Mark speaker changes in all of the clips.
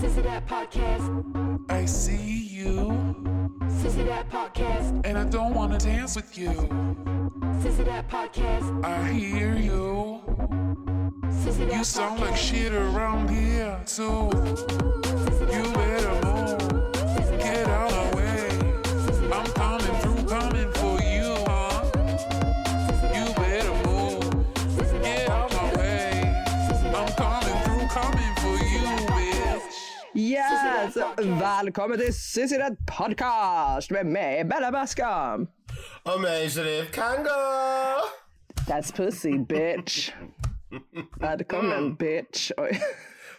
Speaker 1: Sissy That Podcast.
Speaker 2: I see you,
Speaker 1: Sissy That Podcast.
Speaker 2: and I don't wanna dance with you.
Speaker 1: Sissy That Podcast.
Speaker 2: I hear you.
Speaker 1: Sissy That
Speaker 2: You sound like shit around here too. You better move, get out of the way. I'm coming through, coming for you, huh? You better move, get out my way. I'm coming through, coming for you, bitch.
Speaker 3: Yes! Välkommen till Sissi Rätt Podcast med mig, Bella Bascom.
Speaker 4: Och mig Sheriff Kango!
Speaker 3: That's pussy bitch. Välkommen bitch. Oj,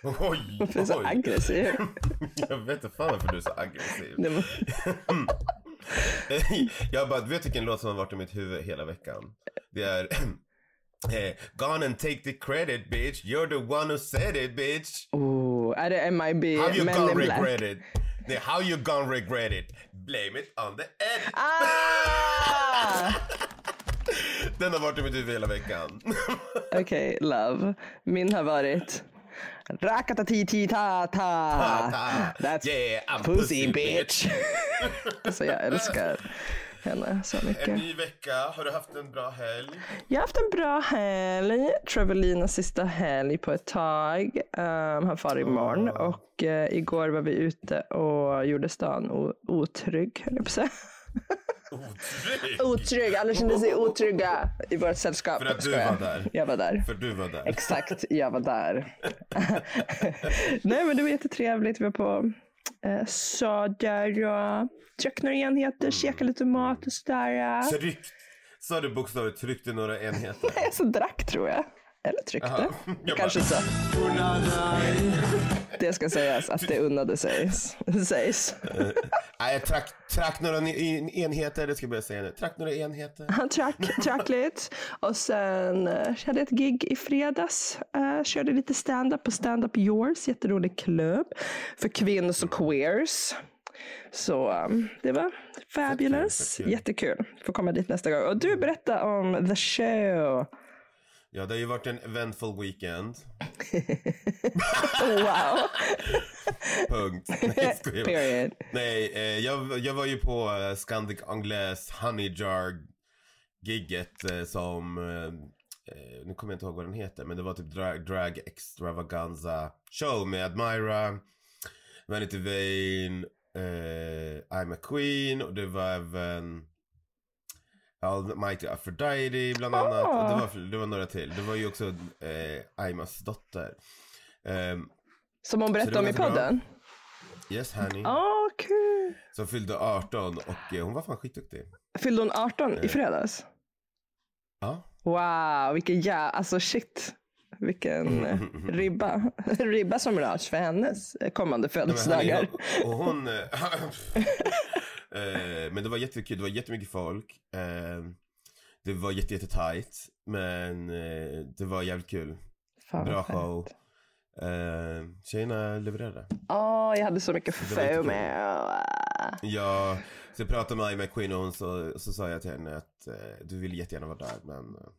Speaker 4: Oj,
Speaker 3: du är så
Speaker 4: Mm. oj.
Speaker 3: aggressiv.
Speaker 4: Jag vet inte fan varför du är så aggressiv.
Speaker 3: Det var,
Speaker 4: Jag bara, du vet vilken låt som har varit i mitt huvud hela veckan? Det är eh, Gone and take the credit bitch, you're the one who said it bitch.
Speaker 3: oh, är det MIB?
Speaker 4: How you
Speaker 3: Men
Speaker 4: gonna
Speaker 3: in Black?
Speaker 4: regret it? Nej, how you gonna regret it? Blame it on the edit.
Speaker 3: Ah!
Speaker 4: Den har varit i mitt huvud hela veckan.
Speaker 3: Okej, love. Min har varit... Rakatatatata. That's
Speaker 4: Yeah, I'm
Speaker 3: pussy
Speaker 4: pussy
Speaker 3: bitch. Så jag älskar henne så
Speaker 4: En
Speaker 3: mycket.
Speaker 4: ny vecka, har du haft en bra helg?
Speaker 3: Jag har haft en bra helg. Travelinas sista helg på ett tag. Um, han far imorgon och eh, igår var vi ute och gjorde stan o- otrygg, höll jag på att säga.
Speaker 4: Otrygg!
Speaker 3: Oh. Otrygg, alla kände sig otrygga i vårt sällskap.
Speaker 4: För att du
Speaker 3: Skojar.
Speaker 4: var där.
Speaker 3: Jag var där.
Speaker 4: För du var där.
Speaker 3: Exakt, jag var där. Nej men det var jättetrevligt. Vi var på eh, Söder och drack några enheter, käkade lite mat och sådär.
Speaker 4: Tryckt. Sa du bokstavligt tryckte några enheter?
Speaker 3: Jag så drack tror jag. Eller tryckte.
Speaker 4: Jag
Speaker 3: Kanske
Speaker 4: bara-
Speaker 3: så. Det ska sägas att det unnade sig. sägs.
Speaker 4: Nej, jag track, track några ni- en- enheter, det ska jag börja säga nu. Track några enheter.
Speaker 3: Han track, track lite. Och sen eh, hade jag ett gig i fredags. Eh, körde lite stand-up på Stand Up Yours. Jätterolig klubb. För kvinnor och queers. Så um, det var fabulous.
Speaker 4: kul, så kul.
Speaker 3: Jättekul. Får komma dit nästa gång. Och du berätta om the show.
Speaker 4: Ja, det har ju varit en eventful weekend.
Speaker 3: Oh, Wow.
Speaker 4: Punkt. Nej, jag skojar.
Speaker 3: Period.
Speaker 4: Nej, eh, jag, jag var ju på eh, Scandic Anglais Honey Jar gigget eh, som, eh, eh, nu kommer jag inte ihåg vad den heter, men det var typ drag, drag extravaganza show med Admira, Vanity Vane, eh, I'm a Queen och det var även Almighty Aphrodite bland annat.
Speaker 3: Ah.
Speaker 4: Och det, var, det var några till. Det var ju också eh, Aimas dotter. Ehm,
Speaker 3: Som hon
Speaker 4: Så det
Speaker 3: berättade om
Speaker 4: var
Speaker 3: i
Speaker 4: ganska bra.
Speaker 3: podden.
Speaker 4: yes honey.
Speaker 3: Åh, kul.
Speaker 4: Som fyllde 18 och eh, hon var fan skitduktig.
Speaker 3: Fyllde hon 18 i fredags?
Speaker 4: Ja.
Speaker 3: Wow, vilken ja, alltså shit. Vilken eh, ribba. ribba som rörs för hennes eh, kommande
Speaker 4: Nej, men hörni,
Speaker 3: födelsedagar.
Speaker 4: hon- Och hon... eh, men det var jättekul, det var jättemycket folk. Eh, det var jätte, jätte tight, men eh, det var jävligt kul.
Speaker 3: Fan,
Speaker 4: Bra
Speaker 3: vad skönt.
Speaker 4: show. Eh, tjejerna levererade.
Speaker 3: Åh, jag hade så mycket
Speaker 4: Det var jättekul.
Speaker 3: fomo. Ah.
Speaker 4: Ja, så jag pratade med Aima Queen och hon så, så sa jag till henne att eh, du ville jättegärna vara där men eh,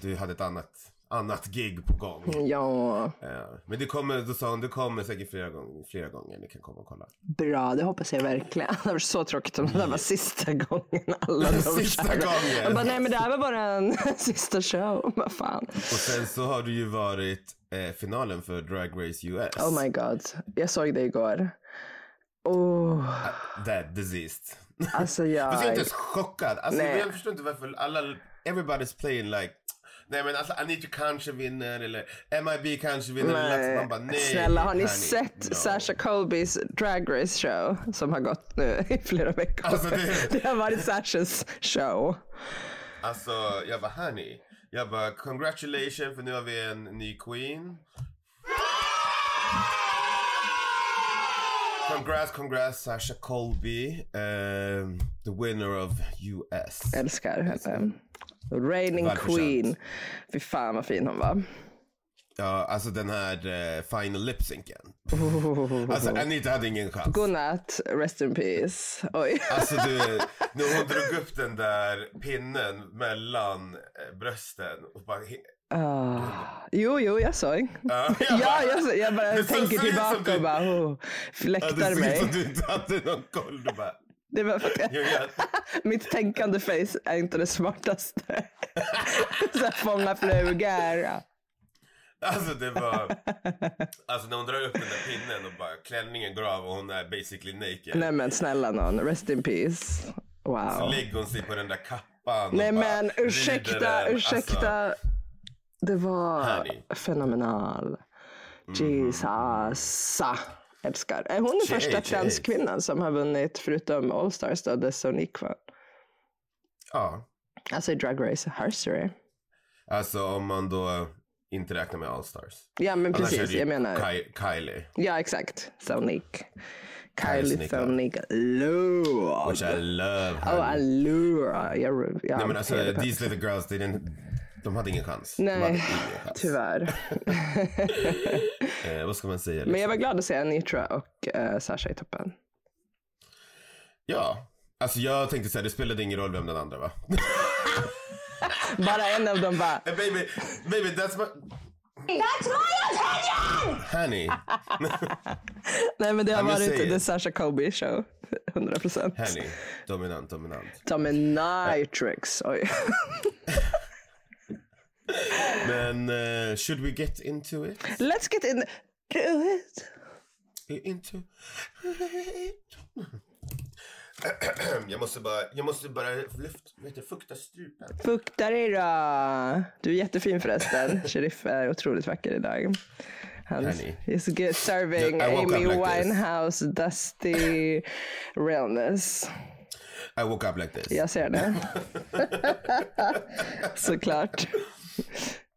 Speaker 4: du hade ett annat, annat gig på gång.
Speaker 3: Mm. Ja,
Speaker 4: Eh, men du kommer, då sa hon, du kommer säkert flera gånger, flera gånger, ni kan komma och kolla.
Speaker 3: bra. Det hoppas jag verkligen. Det var så tråkigt om det där var sista gången alla de
Speaker 4: Sista
Speaker 3: körde.
Speaker 4: gången.
Speaker 3: Jag bara, nej men det här var bara en sista show. Vad fan.
Speaker 4: Och sen så har det ju varit eh, finalen för Drag Race US.
Speaker 3: Oh my god. Jag såg det igår. Oh,
Speaker 4: That diseased.
Speaker 3: alltså jag...
Speaker 4: Fast jag är inte ens chockad. Alltså,
Speaker 3: Nej.
Speaker 4: jag förstår inte varför alla, everybody's playing like Nej men alltså Anita kanske vinner eller MIB kanske vinner. eller
Speaker 3: Nej,
Speaker 4: Lax- Man bara, nej,
Speaker 3: eh, snälla, har ni
Speaker 4: honey,
Speaker 3: sett
Speaker 4: no."
Speaker 3: Sasha Colbys Drag Race show som har gått nu i flera veckor?
Speaker 4: Alltså, det-
Speaker 3: har varit Sashas show.
Speaker 4: Alltså jag bara honey. Jag bara congratulations för nu har vi en ny queen. Congrats, congrats Sasha Colby. ehm, the winner of US.
Speaker 3: Älskar henne. Reigning
Speaker 4: Välförtjänt.
Speaker 3: Queen. Fy fan vad fin hon var.
Speaker 4: Ja, alltså den här eh, final lip-synken. Alltså Anita hade ingen chans.
Speaker 3: Godnatt, rest in peace. Oj.
Speaker 4: Alltså du, när hon drog upp den där pinnen mellan eh, brösten och bara he-
Speaker 3: Ah, jo, jo, jag såg.
Speaker 4: Ja,
Speaker 3: Ja, jag, såg- jag bara
Speaker 4: Det som
Speaker 3: tänker
Speaker 4: ser ut som
Speaker 3: tillbaka
Speaker 4: du-
Speaker 3: och bara oh,
Speaker 4: Ja,
Speaker 3: fläktar
Speaker 4: det ser ut som typ-
Speaker 3: mig.
Speaker 4: du inte hade någon koll. Du bara,
Speaker 3: Det var för att jag,
Speaker 4: jag vet.
Speaker 3: mitt tänkande face är inte det smartaste. Så här fånga flugor.
Speaker 4: Alltså det var... Alltså när hon drar upp den där pinnen och bara klänningen går av och hon är basically naked.
Speaker 3: Nej men snälla någon, rest in peace.
Speaker 4: Så
Speaker 3: Wow.
Speaker 4: lägger hon sig på den där kappan och
Speaker 3: Nej
Speaker 4: bara
Speaker 3: men
Speaker 4: vrider
Speaker 3: ursäkta,
Speaker 4: den. Alltså,
Speaker 3: ursäkta. Det var
Speaker 4: Härlig. Mhm.
Speaker 3: fenomenal. Jesus. Älskar. Är hon den
Speaker 4: Tjej,
Speaker 3: första
Speaker 4: tjej.
Speaker 3: transkvinnan som har vunnit, förutom Allstars då, Dess Unikva?
Speaker 4: ja.
Speaker 3: Alltså i Drag Race Herstory.
Speaker 4: Alltså om man då inte räknar med Allstars.
Speaker 3: Ja men
Speaker 4: Annars är
Speaker 3: precis,
Speaker 4: det ju
Speaker 3: jag menar.
Speaker 4: Ky- Kylie.
Speaker 3: Ja exakt. Sonic.
Speaker 4: Kylie
Speaker 3: Kylie
Speaker 4: Sonic, va?
Speaker 3: Sonic Lure.
Speaker 4: Which I love her.
Speaker 3: Oh, Allure. Jag, jag
Speaker 4: Nej men alltså
Speaker 3: hanterade på-
Speaker 4: these little girls, they didn't, de hade ingen chans. De hade
Speaker 3: Nej,
Speaker 4: ingen chans.
Speaker 3: tyvärr.
Speaker 4: Eh, vad ska man säga? Liksom?
Speaker 3: Men jag var glad att se Anitra och uh, Sasha i toppen.
Speaker 4: Ja. Alltså jag tänkte säga det spelade ingen roll vem den andra var.
Speaker 3: Bara en av dem bara,
Speaker 4: Eh, baby, baby that's my...
Speaker 1: That's my opinion!
Speaker 4: Honey,
Speaker 3: nej men det har
Speaker 4: men
Speaker 3: varit
Speaker 4: säg-
Speaker 3: the Sasha Kobe show. 100 procent.
Speaker 4: honey. Dominant, dominant.
Speaker 3: Tommy Nitrix, oj.
Speaker 4: Men eh, should we get into it? Eh,
Speaker 3: Let's get in, do it.
Speaker 4: Into it. Jag måste bara, jag måste bara luft, vad heter det, fukta strupen.
Speaker 3: Fukta dig då. Du är jättefin förresten. Sheriff är otroligt vacker idag. Han
Speaker 4: Härlig.
Speaker 3: is good serving
Speaker 4: Jag- I woke up
Speaker 3: Amy
Speaker 4: like this.
Speaker 3: Winehouse dusty realness.
Speaker 4: I woke up like this.
Speaker 3: Jag ser det. Såklart.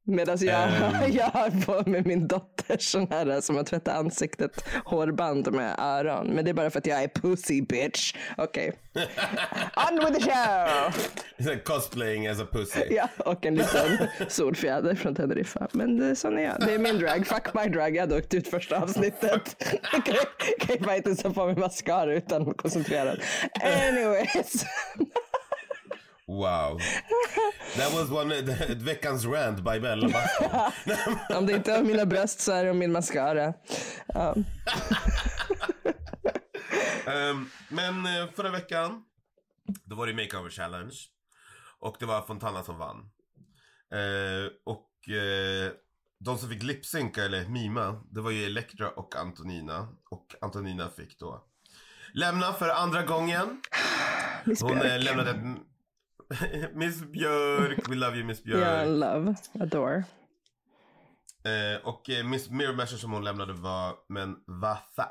Speaker 3: Medan jag,
Speaker 4: Ehm.
Speaker 3: jag har på med min dotter sån här som har tvättat ansiktet, hårband med öron. Men det är bara för att jag är pussy bitch. Okej. On with the show!
Speaker 4: It's like cosplaying as a pussy.
Speaker 3: Ja, och en liten solfjäder från Teneriffa. Men eh, det, sån är jag. Det är min drag. Fuck my drag. Jag hade åkt ut första avsnittet. kan, ju- kan ju bara inte sätta på mig mascara utan att koncentrera. Anyways.
Speaker 4: Wow. That was one, veckans rant by Bella Basso.
Speaker 3: Om det inte är mina bröst så är det om min mascara.
Speaker 4: Ehm, men eh, förra veckan, då var det makeover challenge. Och det var Fontana som vann. Eh, och eh, de som fick lipsynka eller mima, det var ju Elektra och Antonina. Och Antonina fick då lämna för andra gången.
Speaker 3: Miss
Speaker 4: Hon eh,
Speaker 3: Björk.
Speaker 4: lämnade ett... Miss Björk, we love you Miss Björk.
Speaker 3: Yeah, love. Adore.
Speaker 4: Eh, och eh, Miss Mirror Masher som hon lämnade var, men vad fan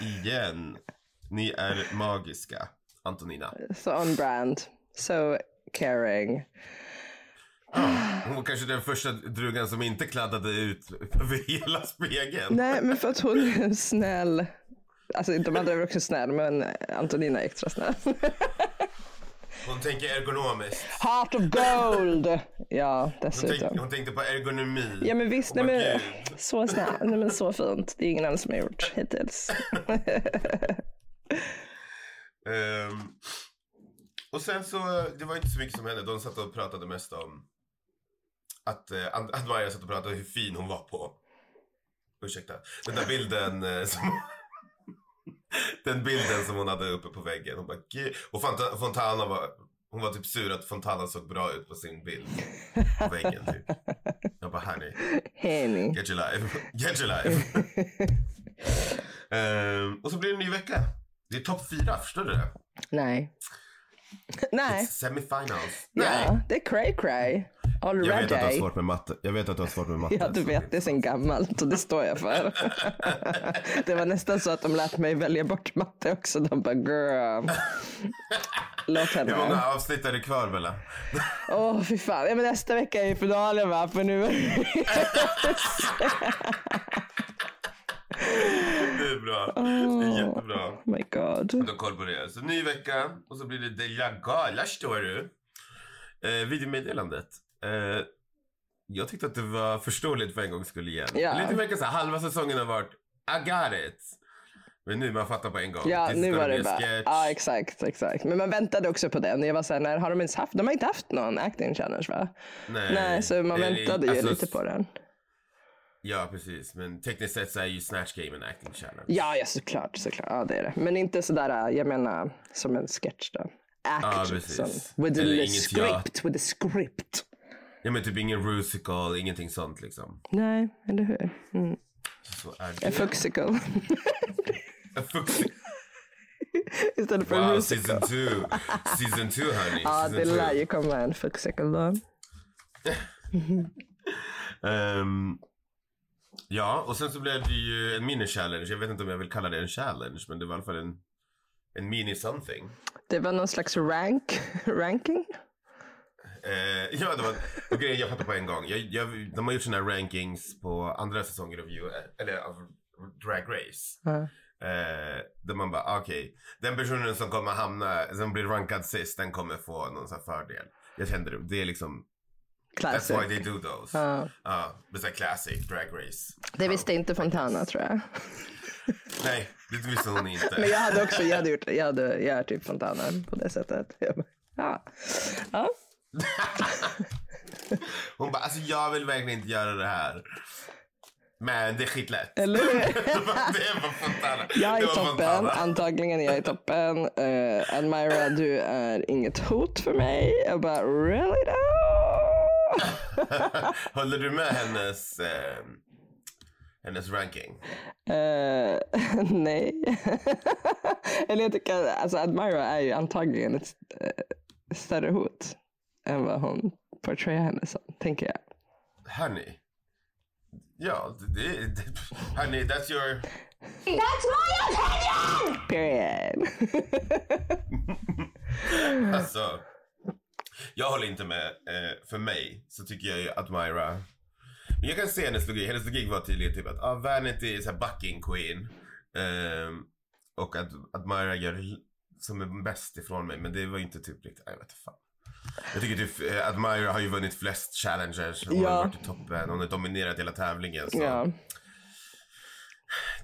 Speaker 4: igen. Ni är magiska, Antonina.
Speaker 3: Så on brand. So caring.
Speaker 4: Hon var kanske den första drugan som inte kladdade ut över hela spegeln.
Speaker 3: Nej, men för att hon är snäll. Alltså de andra är också snäll, men Antonina är extra snäll.
Speaker 4: Hon tänker ergonomiskt.
Speaker 3: Heart of gold! Ja,
Speaker 4: Hon, tänk,
Speaker 3: dessutom.
Speaker 4: hon tänkte på ergonomi.
Speaker 3: Ja men visst, nej
Speaker 4: Hon bara,
Speaker 3: men
Speaker 4: "Gud."
Speaker 3: så snäll, nej men så fint. Det är ingen annan som har gjort hittills.
Speaker 4: Ehm, och sen så, det var inte så mycket som hände. De satt och pratade mest om att, eh, An- att Maja satt och pratade om hur fin hon var på. Ursäkta. Den där bilden eh, som... Den bilden som hon hade uppe på väggen. Hon bara, "Gud." och Fanta- Fontana var, hon var typ sur att Fontana såg bra ut på sin bild. På väggen typ. Jag bara, hörni.
Speaker 3: Henny.
Speaker 4: Get your life. Get your life. Ehm, och så blir det en ny vecka. Det är topp fyra, förstår du det?
Speaker 3: Nej. Nej.
Speaker 4: It's Semifinals.
Speaker 3: Ja, det är cray cray.
Speaker 4: Jag vet, att du har
Speaker 3: Already.
Speaker 4: svårt med matte. jag vet att du har svårt med matte.
Speaker 3: Ja, du
Speaker 4: så
Speaker 3: vet, det är sen gammalt och det står jag för. Det var nästan så att de lät mig välja bort matte också. De bara, girl. Låt henne
Speaker 4: Hur
Speaker 3: vara.
Speaker 4: många avsnitt är det kvar, Bella?
Speaker 3: Åh, fy fan. Ja, men nästa vecka är ju finalen va? För nu
Speaker 4: Det är bra. Det är jättebra.
Speaker 3: Oh my god.
Speaker 4: Du har koll på det. Så ny vecka och så blir det Delia Gala, står du. Eh, videomeddelandet. Eh, jag tyckte att det var förståeligt för en gång skulle igen.
Speaker 3: Ja.
Speaker 4: Eller det verkar så här, halva säsongen har varit I got it. Men nu man fattar på en gång.
Speaker 3: Ja,
Speaker 4: Tills
Speaker 3: nu
Speaker 4: när
Speaker 3: var det
Speaker 4: blir
Speaker 3: bara.
Speaker 4: sketch.
Speaker 3: Ja, exakt, exakt. Men man väntade också på den. Jag var så här, när har de ens haft? De har inte haft någon acting challenge va?
Speaker 4: Nej.
Speaker 3: Nej, så man
Speaker 4: Eller,
Speaker 3: väntade ju
Speaker 4: alltså,
Speaker 3: lite på den.
Speaker 4: Ja, precis. Men tekniskt sett så är ju Snatch Game en acting challenge.
Speaker 3: Ja, ja, såklart, såklart. Ja, det är det. Men inte sådär, jag menar, som en sketch då. Act.
Speaker 4: Ja, precis.
Speaker 3: som, with
Speaker 4: Eller
Speaker 3: the
Speaker 4: inget jag-
Speaker 3: script, with the script.
Speaker 4: Ja, men typ ingen rusical, ingenting sånt liksom.
Speaker 3: Nej, eller hur? Mm.
Speaker 4: Så är
Speaker 3: A
Speaker 4: det.
Speaker 3: fuxical.
Speaker 4: A fuxi-
Speaker 3: Istället för en
Speaker 4: Wow,
Speaker 3: musical.
Speaker 4: season two. Season two, honey.
Speaker 3: Ja,
Speaker 4: season
Speaker 3: det
Speaker 4: two.
Speaker 3: lär ju komma en fuxical då.
Speaker 4: Ehm, ja, och sen så blev det ju en mini-challenge. Jag vet inte om jag vill kalla det en challenge, men det var i alla fall en, en mini-something.
Speaker 3: Det var någon slags rank, ranking.
Speaker 4: Eh, ja, det var... Och grejen, jag fattar på en gång. Jag, jag, de har gjort sina rankings på andra säsonger av, U- eller av Drag Race.
Speaker 3: Ja.
Speaker 4: Eh, där man bara, okej, den personen som kommer hamna, som blir rankad sist, den kommer få någon sån här fördel. Jag kände det, det är liksom,
Speaker 3: Classic.
Speaker 4: that's why they do those.
Speaker 3: Alltså, Ja.
Speaker 4: Ja, det är så här classic drag race.
Speaker 3: Det visste inte Fontana tror jag.
Speaker 4: Nej, det visste hon inte.
Speaker 3: Men jag hade också, jag hade gjort, jag hade, jag är typ Fontana på det sättet. Jag bara, Ja. ja.
Speaker 4: Hon bara, alltså jag vill verkligen inte göra det här. Men det är skitlätt.
Speaker 3: Eller hur?
Speaker 4: det var Fontana.
Speaker 3: Jag
Speaker 4: det
Speaker 3: är
Speaker 4: var
Speaker 3: toppen,
Speaker 4: Fontana.
Speaker 3: antagligen jag är toppen. Uh, Admira, du är inget hot för mig. Jag bara, really though?
Speaker 4: Håller du med hennes, eh, hennes ranking?
Speaker 3: Eh, nej. Eller jag tycker, alltså Admira är ju antagligen ett st- eh, större hot än vad hon portrayar henne som, tänker jag.
Speaker 4: Honey. Ja, det, det, honey, that's your...
Speaker 1: That's my opinion!
Speaker 3: Period. Mm.
Speaker 4: Alltså, jag håller inte med. Eh, för mig så tycker jag ju att Myra... Men jag kan se hennes logik. Hennes logik var tydligen typ att ah, Vanity är så här bucking queen. Ehm, och att, att Myra gör l- som är bäst ifrån mig. Men det var ju inte typ riktigt... Jag vet inte fan. Jag tycker typ eh, att Myra har ju vunnit flest challengers. Hon
Speaker 3: Ja.
Speaker 4: har varit i toppen. Hon har dominerat hela tävlingen. Så
Speaker 3: ja.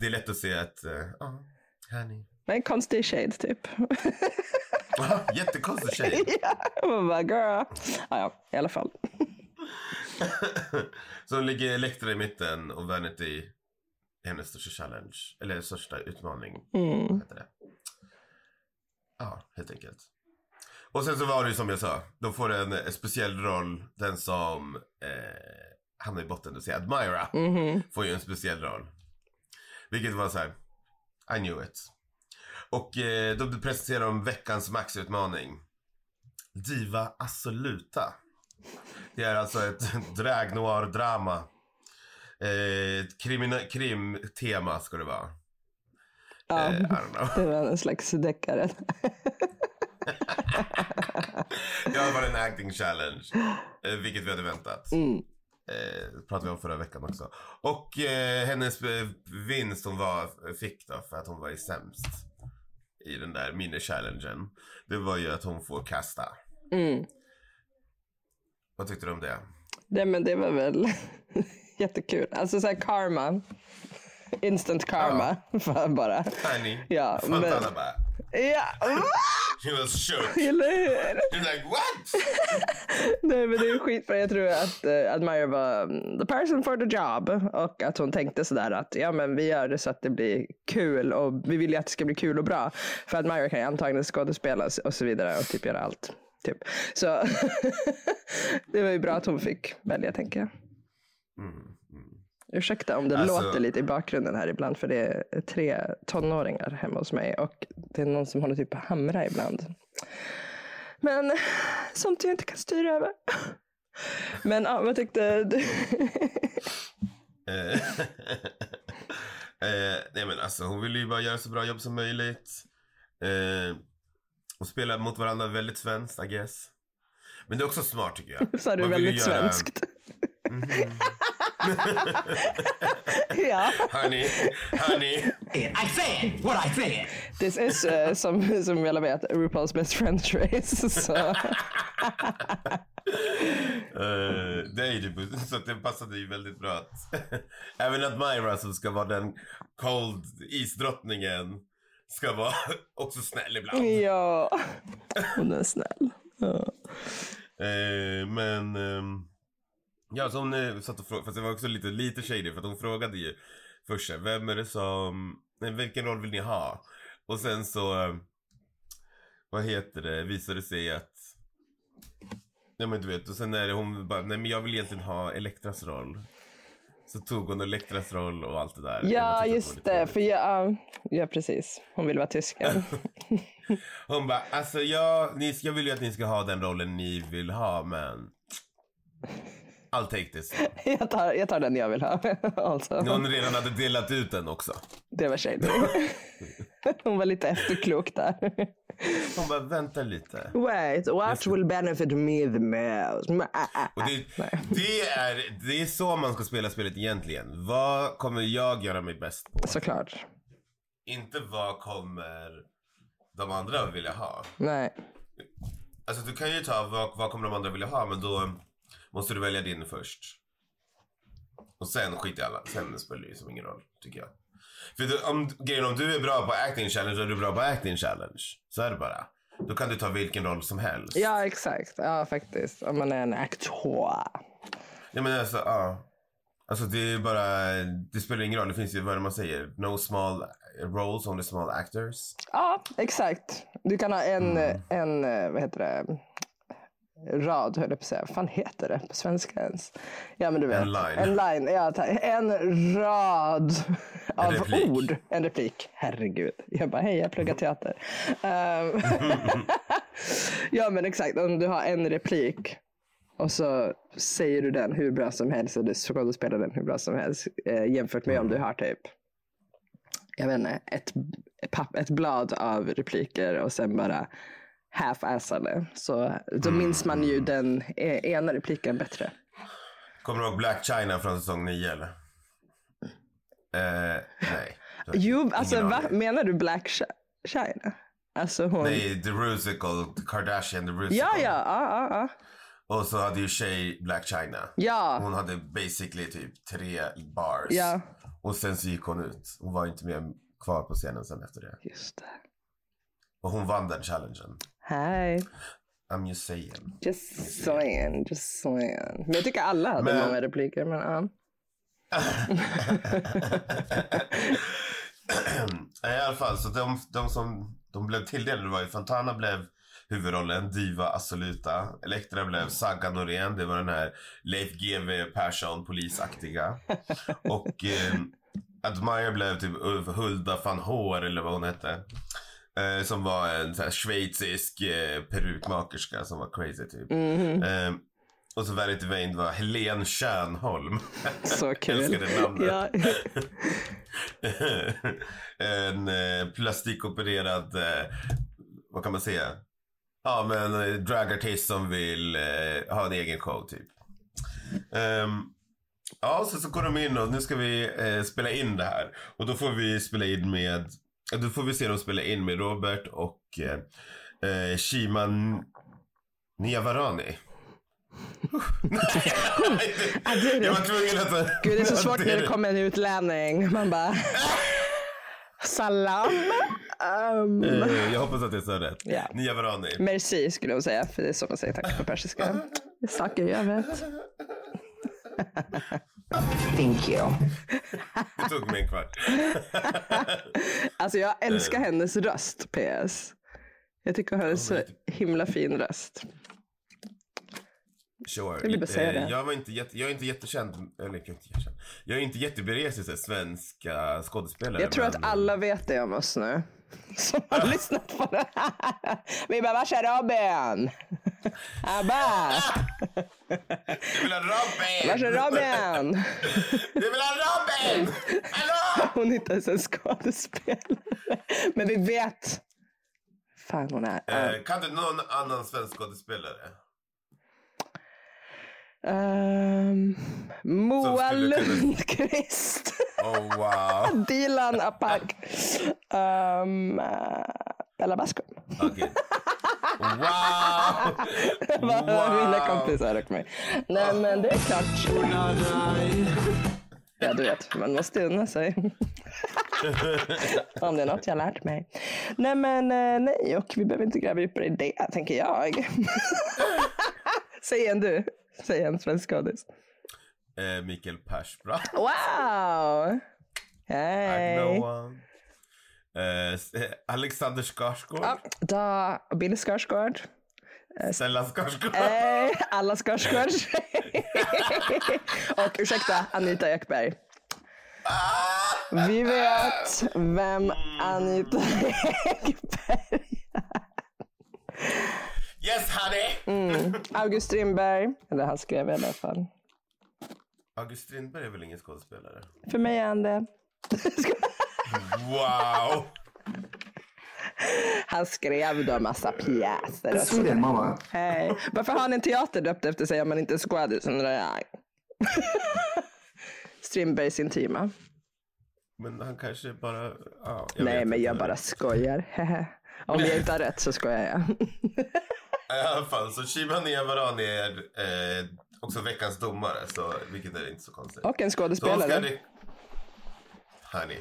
Speaker 4: det är lätt att se att... eh, Ja, honey.
Speaker 3: Men konstig shade typ.
Speaker 4: Jättekonstig tjej.
Speaker 3: Man bara, girl. Ah, ja, i alla fall.
Speaker 4: Så hon ligger Elektra i mitten och Vanity är hennes största challenge. Eller största utmaning.
Speaker 3: Mm.
Speaker 4: Heter det. Ja, helt enkelt. Och sen så var det ju som jag sa. De får en, eh, speciell roll. Den som eh, hamnar i botten, du säger Admira,
Speaker 3: Mhm.
Speaker 4: får ju en speciell roll. Vilket var så här. I knew it. Och eh, då presenterar de veckans maxutmaning. Diva Assoluta. Det är alltså ett drag noir drama. Eh, ett krimina- krim-tema ska det vara.
Speaker 3: Ja,
Speaker 4: Eh, I don't know.
Speaker 3: det var en slags deckare.
Speaker 4: Jag var en acting challenge. eh, Vilket vi hade väntat.
Speaker 3: Mm.
Speaker 4: Eh, pratade vi om förra veckan också. Och eh, hennes eh, vinst hon var, fick då för att hon var i sämst i den där mini-challengen. Det var ju att hon får kasta.
Speaker 3: Mm.
Speaker 4: Vad tyckte du om det?
Speaker 3: Nej, men det var väl jättekul. Alltså så här karma. Instant karma. Fan bara.
Speaker 4: Honey?
Speaker 3: Ja,
Speaker 4: Fontana
Speaker 3: men-
Speaker 4: bara.
Speaker 3: Ja,
Speaker 4: She was shook.
Speaker 3: eller hur?
Speaker 4: You're like what?
Speaker 3: Nej, men det är skit för jag tror att eh, Admire var mm, the person for the job och att hon tänkte sådär att ja, men vi gör det så att det blir kul och vi vill ju att det ska bli kul och bra. För Admire kan ju antagligen skådespela och s- och så vidare och typ göra allt. Typ. Så det var ju bra att hon fick välja tänker jag.
Speaker 4: Mm, mm.
Speaker 3: Ursäkta om det
Speaker 4: Alltså-
Speaker 3: låter lite i bakgrunden här ibland för det är tre tonåringar hemma hos mig och det är någon som håller typ på att hamra ibland. Men sånt jag inte kan styra över. Men ja, vad tyckte du?
Speaker 4: Eh, eh, nej men alltså hon ville ju bara göra så bra jobb som möjligt. Eh, och spela mot varandra väldigt svenskt I guess. Men det är också smart tycker jag.
Speaker 3: Sa du
Speaker 4: Man vill ju
Speaker 3: väldigt
Speaker 4: göra-
Speaker 3: svenskt? ja,
Speaker 4: Honey, honey.
Speaker 5: I said what I said.
Speaker 3: this is eh, som, som vi alla vet RuPaul's best friend race. Så.
Speaker 4: Eh, det är ju det, så att det passade ju väldigt bra att även att Myra som ska vara den cold isdrottningen ska vara också snäll ibland.
Speaker 3: Ja. Hon är snäll. Ja.
Speaker 4: Eh, men... ehm, ja, så hon eh, satt och frågade, fast det var också lite, lite shady för att hon frågade ju först så här, vem är det som, nej, vilken roll vill ni ha? Och sen så, eh, vad heter det, visade det sig att, nej men du vet, och sen är det hon bara, nej men jag vill egentligen ha Elektras roll. Så tog hon Elektras roll och allt det där. Jag
Speaker 3: Ja,
Speaker 4: tyckte
Speaker 3: just
Speaker 4: att var lite
Speaker 3: det. För jag, ja, precis. Hon vill vara tysken.
Speaker 4: Hon bara, alltså jag, ni, jag vill ju att ni ska ha den rollen ni vill ha men... I'll take this.
Speaker 3: Jag tar, jag tar den jag vill ha. Alltså,
Speaker 4: Någon redan hade delat ut den också.
Speaker 3: Det var shady. Hon var lite efterklok där.
Speaker 4: Hon bara, vänta lite.
Speaker 3: Wait, what will benefit me the most? Mm, ah, ah,
Speaker 4: Och
Speaker 3: ah.
Speaker 4: det, det, är, det är så man ska spela spelet egentligen. Vad kommer jag göra mig bäst på?
Speaker 3: Såklart.
Speaker 4: Inte vad kommer de andra vilja ha.
Speaker 3: Nej.
Speaker 4: Alltså du kan ju ta vad, vad kommer de andra vilja ha men då måste du välja din först. Och sen skit i alla. Sen spelar det ju som ingen roll tycker jag. För du, om, grejen om du är bra på acting challenge då är du bra på acting challenge. Så är det bara. Då kan du ta vilken roll som helst.
Speaker 3: Ja, exakt. Ja, faktiskt. Om man är en aktör.
Speaker 4: Nej men alltså ja. Alltså det är bara, det spelar ingen roll. Det finns ju vad är det man säger. No small roles, only small actors.
Speaker 3: Ja, exakt. Du kan ha en,
Speaker 4: Mm.
Speaker 3: en eh, vad heter det, rad höll jag på att säga. Vad fan heter det på svenska ens? Ja, men du vet.
Speaker 4: En line.
Speaker 3: En, line, ja, ta- en rad av
Speaker 4: replik.
Speaker 3: ord. En replik. Herregud. Jag bara, hej, jag pluggar teater. Ehm, ja, men exakt. Om du har en replik och så säger du den hur bra som helst och du skådespelar den hur bra som helst eh, jämfört med
Speaker 4: Mm.
Speaker 3: om du har typ jag vet inte, ett, papp, ett blad av repliker och sen bara half-assade. Så då
Speaker 4: Mm.
Speaker 3: minns man ju den eh, ena repliken bättre.
Speaker 4: Kommer du ihåg Black China från säsong 9 eller? Eh, nej.
Speaker 3: Jo,
Speaker 4: Ingen
Speaker 3: alltså va?
Speaker 4: aning.
Speaker 3: menar du Black Chi- China? Alltså hon...
Speaker 4: Nej, The Rusical, The Kardashian, The Rusical.
Speaker 3: Ja, ja, ja, ja, ja.
Speaker 4: Och så hade ju Shay Black China.
Speaker 3: Ja,
Speaker 4: Hon hade basically typ tre bars.
Speaker 3: ja.
Speaker 4: Och sen så gick hon ut. Hon var inte med kvar på scenen sen efter det.
Speaker 3: Just det.
Speaker 4: Och hon vann den challengen.
Speaker 3: Hej.
Speaker 4: I'm just saying.
Speaker 3: Just saying, just saying. Men jag tycker alla hade
Speaker 4: Men-
Speaker 3: många repliker. Men, ja.
Speaker 4: I alla fall, så de, de som de blev tilldelade var ju Fontana blev huvudrollen, Diva Assoluta. Elektra blev Saga Norén, det var den här Leif GW Persson, polisaktiga. Och eh, Admire blev typ Ulf- Hulda van Haar eller vad hon hette. Eh, som var en så här, schweizisk eh, perukmakerska som var crazy typ.
Speaker 3: Mhm,
Speaker 4: Eh, och så Verity Wayne var Helen Tjärnholm.
Speaker 3: Så
Speaker 4: Älskar
Speaker 3: kul.
Speaker 4: det namnet.
Speaker 3: Ja.
Speaker 4: en eh, plastikopererad, eh, vad kan man säga? Ja men eh, dragartist som vill eh, ha en egen show typ. Ehm, ja så, så går de in och nu ska vi eh, spela in det här. Och då får vi spela in med, eh, då får vi se dem spela in med Robert och eh, eh, Shiman Niavarani.
Speaker 3: Ja, det är
Speaker 4: Jag
Speaker 3: det.
Speaker 4: var tvungen att...
Speaker 3: Gud, det är så
Speaker 4: att
Speaker 3: svårt när det kommer en utlänning. Man bara... Salam. Um,
Speaker 4: Eh, Jag hoppas att jag sa rätt.
Speaker 3: Ja.
Speaker 4: Nia Varani.
Speaker 3: merci skulle hon säga, för det är så man säger tack på persiska. Saker jag vet.
Speaker 1: Thank you.
Speaker 4: Det tog mig en kvart.
Speaker 3: Alltså jag älskar hennes röst, PS. Jag tycker hon har en så himla fin röst.
Speaker 4: Sure.
Speaker 3: ville bara säga det.
Speaker 4: Eh, Jag, var inte jätte, jag är inte jättekänd, eller jag är inte jättekänd. Jag är inte jätteberest i så här svenska skådespelare.
Speaker 3: Jag tror att
Speaker 4: men-
Speaker 3: alla vet det om oss nu. Som har lyssnat på det här. Vi bara, vars är Robin? Abba,
Speaker 4: Jag vill ha Robin!
Speaker 3: vars är Robin?
Speaker 4: Jag vill ha Robin! Hallå!
Speaker 3: Hon är inte ens en skådespelare. Men vi vet. Fan hon är.
Speaker 4: Eh, Kan du någon annan svensk skådespelare?
Speaker 3: Ehm, Moa
Speaker 4: skulle kunna-
Speaker 3: Lundqvist.
Speaker 4: Oh wow.
Speaker 3: Dilan Apak. Um, Ehm, eh, Bella Basco.
Speaker 4: Okej. Wow!
Speaker 3: Mina
Speaker 4: wow.
Speaker 3: kompisar och mig. Nej men det är klart. Ja du vet, man måste unna sig. Om det är något jag har lärt mig. Nej men eh, nej, och vi behöver inte gräva djupare i det tänker jag. Säg en du. Säg en svensk skådis.
Speaker 4: Eh, Mikael Persbrandt.
Speaker 3: Wow!
Speaker 4: I
Speaker 3: Hej!
Speaker 4: know one. Eh, s- eh, Alexander Skarsgård.
Speaker 3: Ja, Da, Bill Skarsgård.
Speaker 4: Stellan Skarsgård.
Speaker 3: Eh, alla Skarsgård. och ursäkta, Anita Ekberg. Vi vet vem Anita Ekberg
Speaker 4: Yes honey!
Speaker 3: Mm. August Strindberg. Eller han skrev i alla fall.
Speaker 4: August Strindberg är väl ingen skådespelare?
Speaker 3: För mig är han det.
Speaker 4: Wow!
Speaker 3: Han skrev då massa pjäser. och så.
Speaker 6: mamma.
Speaker 3: Hej. Varför har han en teater döpt efter sig om man inte är skådis undrar jag. Strindbergs intima.
Speaker 4: Men han kanske bara... ja,
Speaker 3: Nej
Speaker 4: vet
Speaker 3: men
Speaker 4: inte.
Speaker 3: jag bara skojar. om jag inte har rätt så skojar jag.
Speaker 4: I alla fall, så Shiba Niavaran är eh, också veckans domare, så, vilket är inte så konstigt.
Speaker 3: Och en
Speaker 4: Så hon ska...
Speaker 3: skådespelare.
Speaker 4: re- Honey.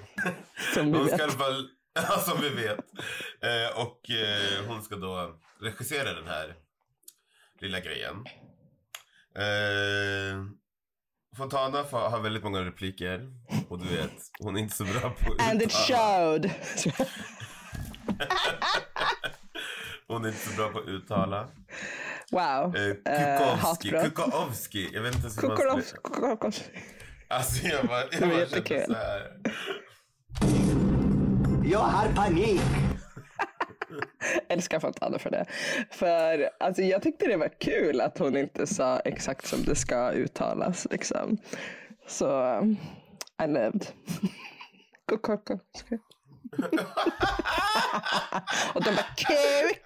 Speaker 3: Som vi
Speaker 4: Hon ska i
Speaker 3: vet.
Speaker 4: alla fall... Ja, som vi vet. Eh, och eh, hon ska då regissera den här lilla grejen. Eh, Fontana fa- har väldigt många repliker. Och du vet, hon är inte så bra på att
Speaker 3: And it
Speaker 4: uttala.
Speaker 3: showed.
Speaker 4: Hon är inte så bra på att uttala.
Speaker 3: Wow.
Speaker 4: Eh,
Speaker 3: Eh,
Speaker 4: Kukovski.
Speaker 3: hatbrott.
Speaker 4: Kukovski. Jag vet inte ens hur man
Speaker 3: Kukorov-
Speaker 4: säger.
Speaker 3: Kukorov-
Speaker 4: Alltså jag bara, jag
Speaker 3: var
Speaker 4: bara
Speaker 3: jättekul.
Speaker 4: kände så här.
Speaker 5: Jag har panik.
Speaker 3: Älskar Fontana för det. För alltså, jag tyckte det var kul att hon inte sa exakt som det ska uttalas. Liksom. Så um, I lived. Kukorov- Och de bara kuk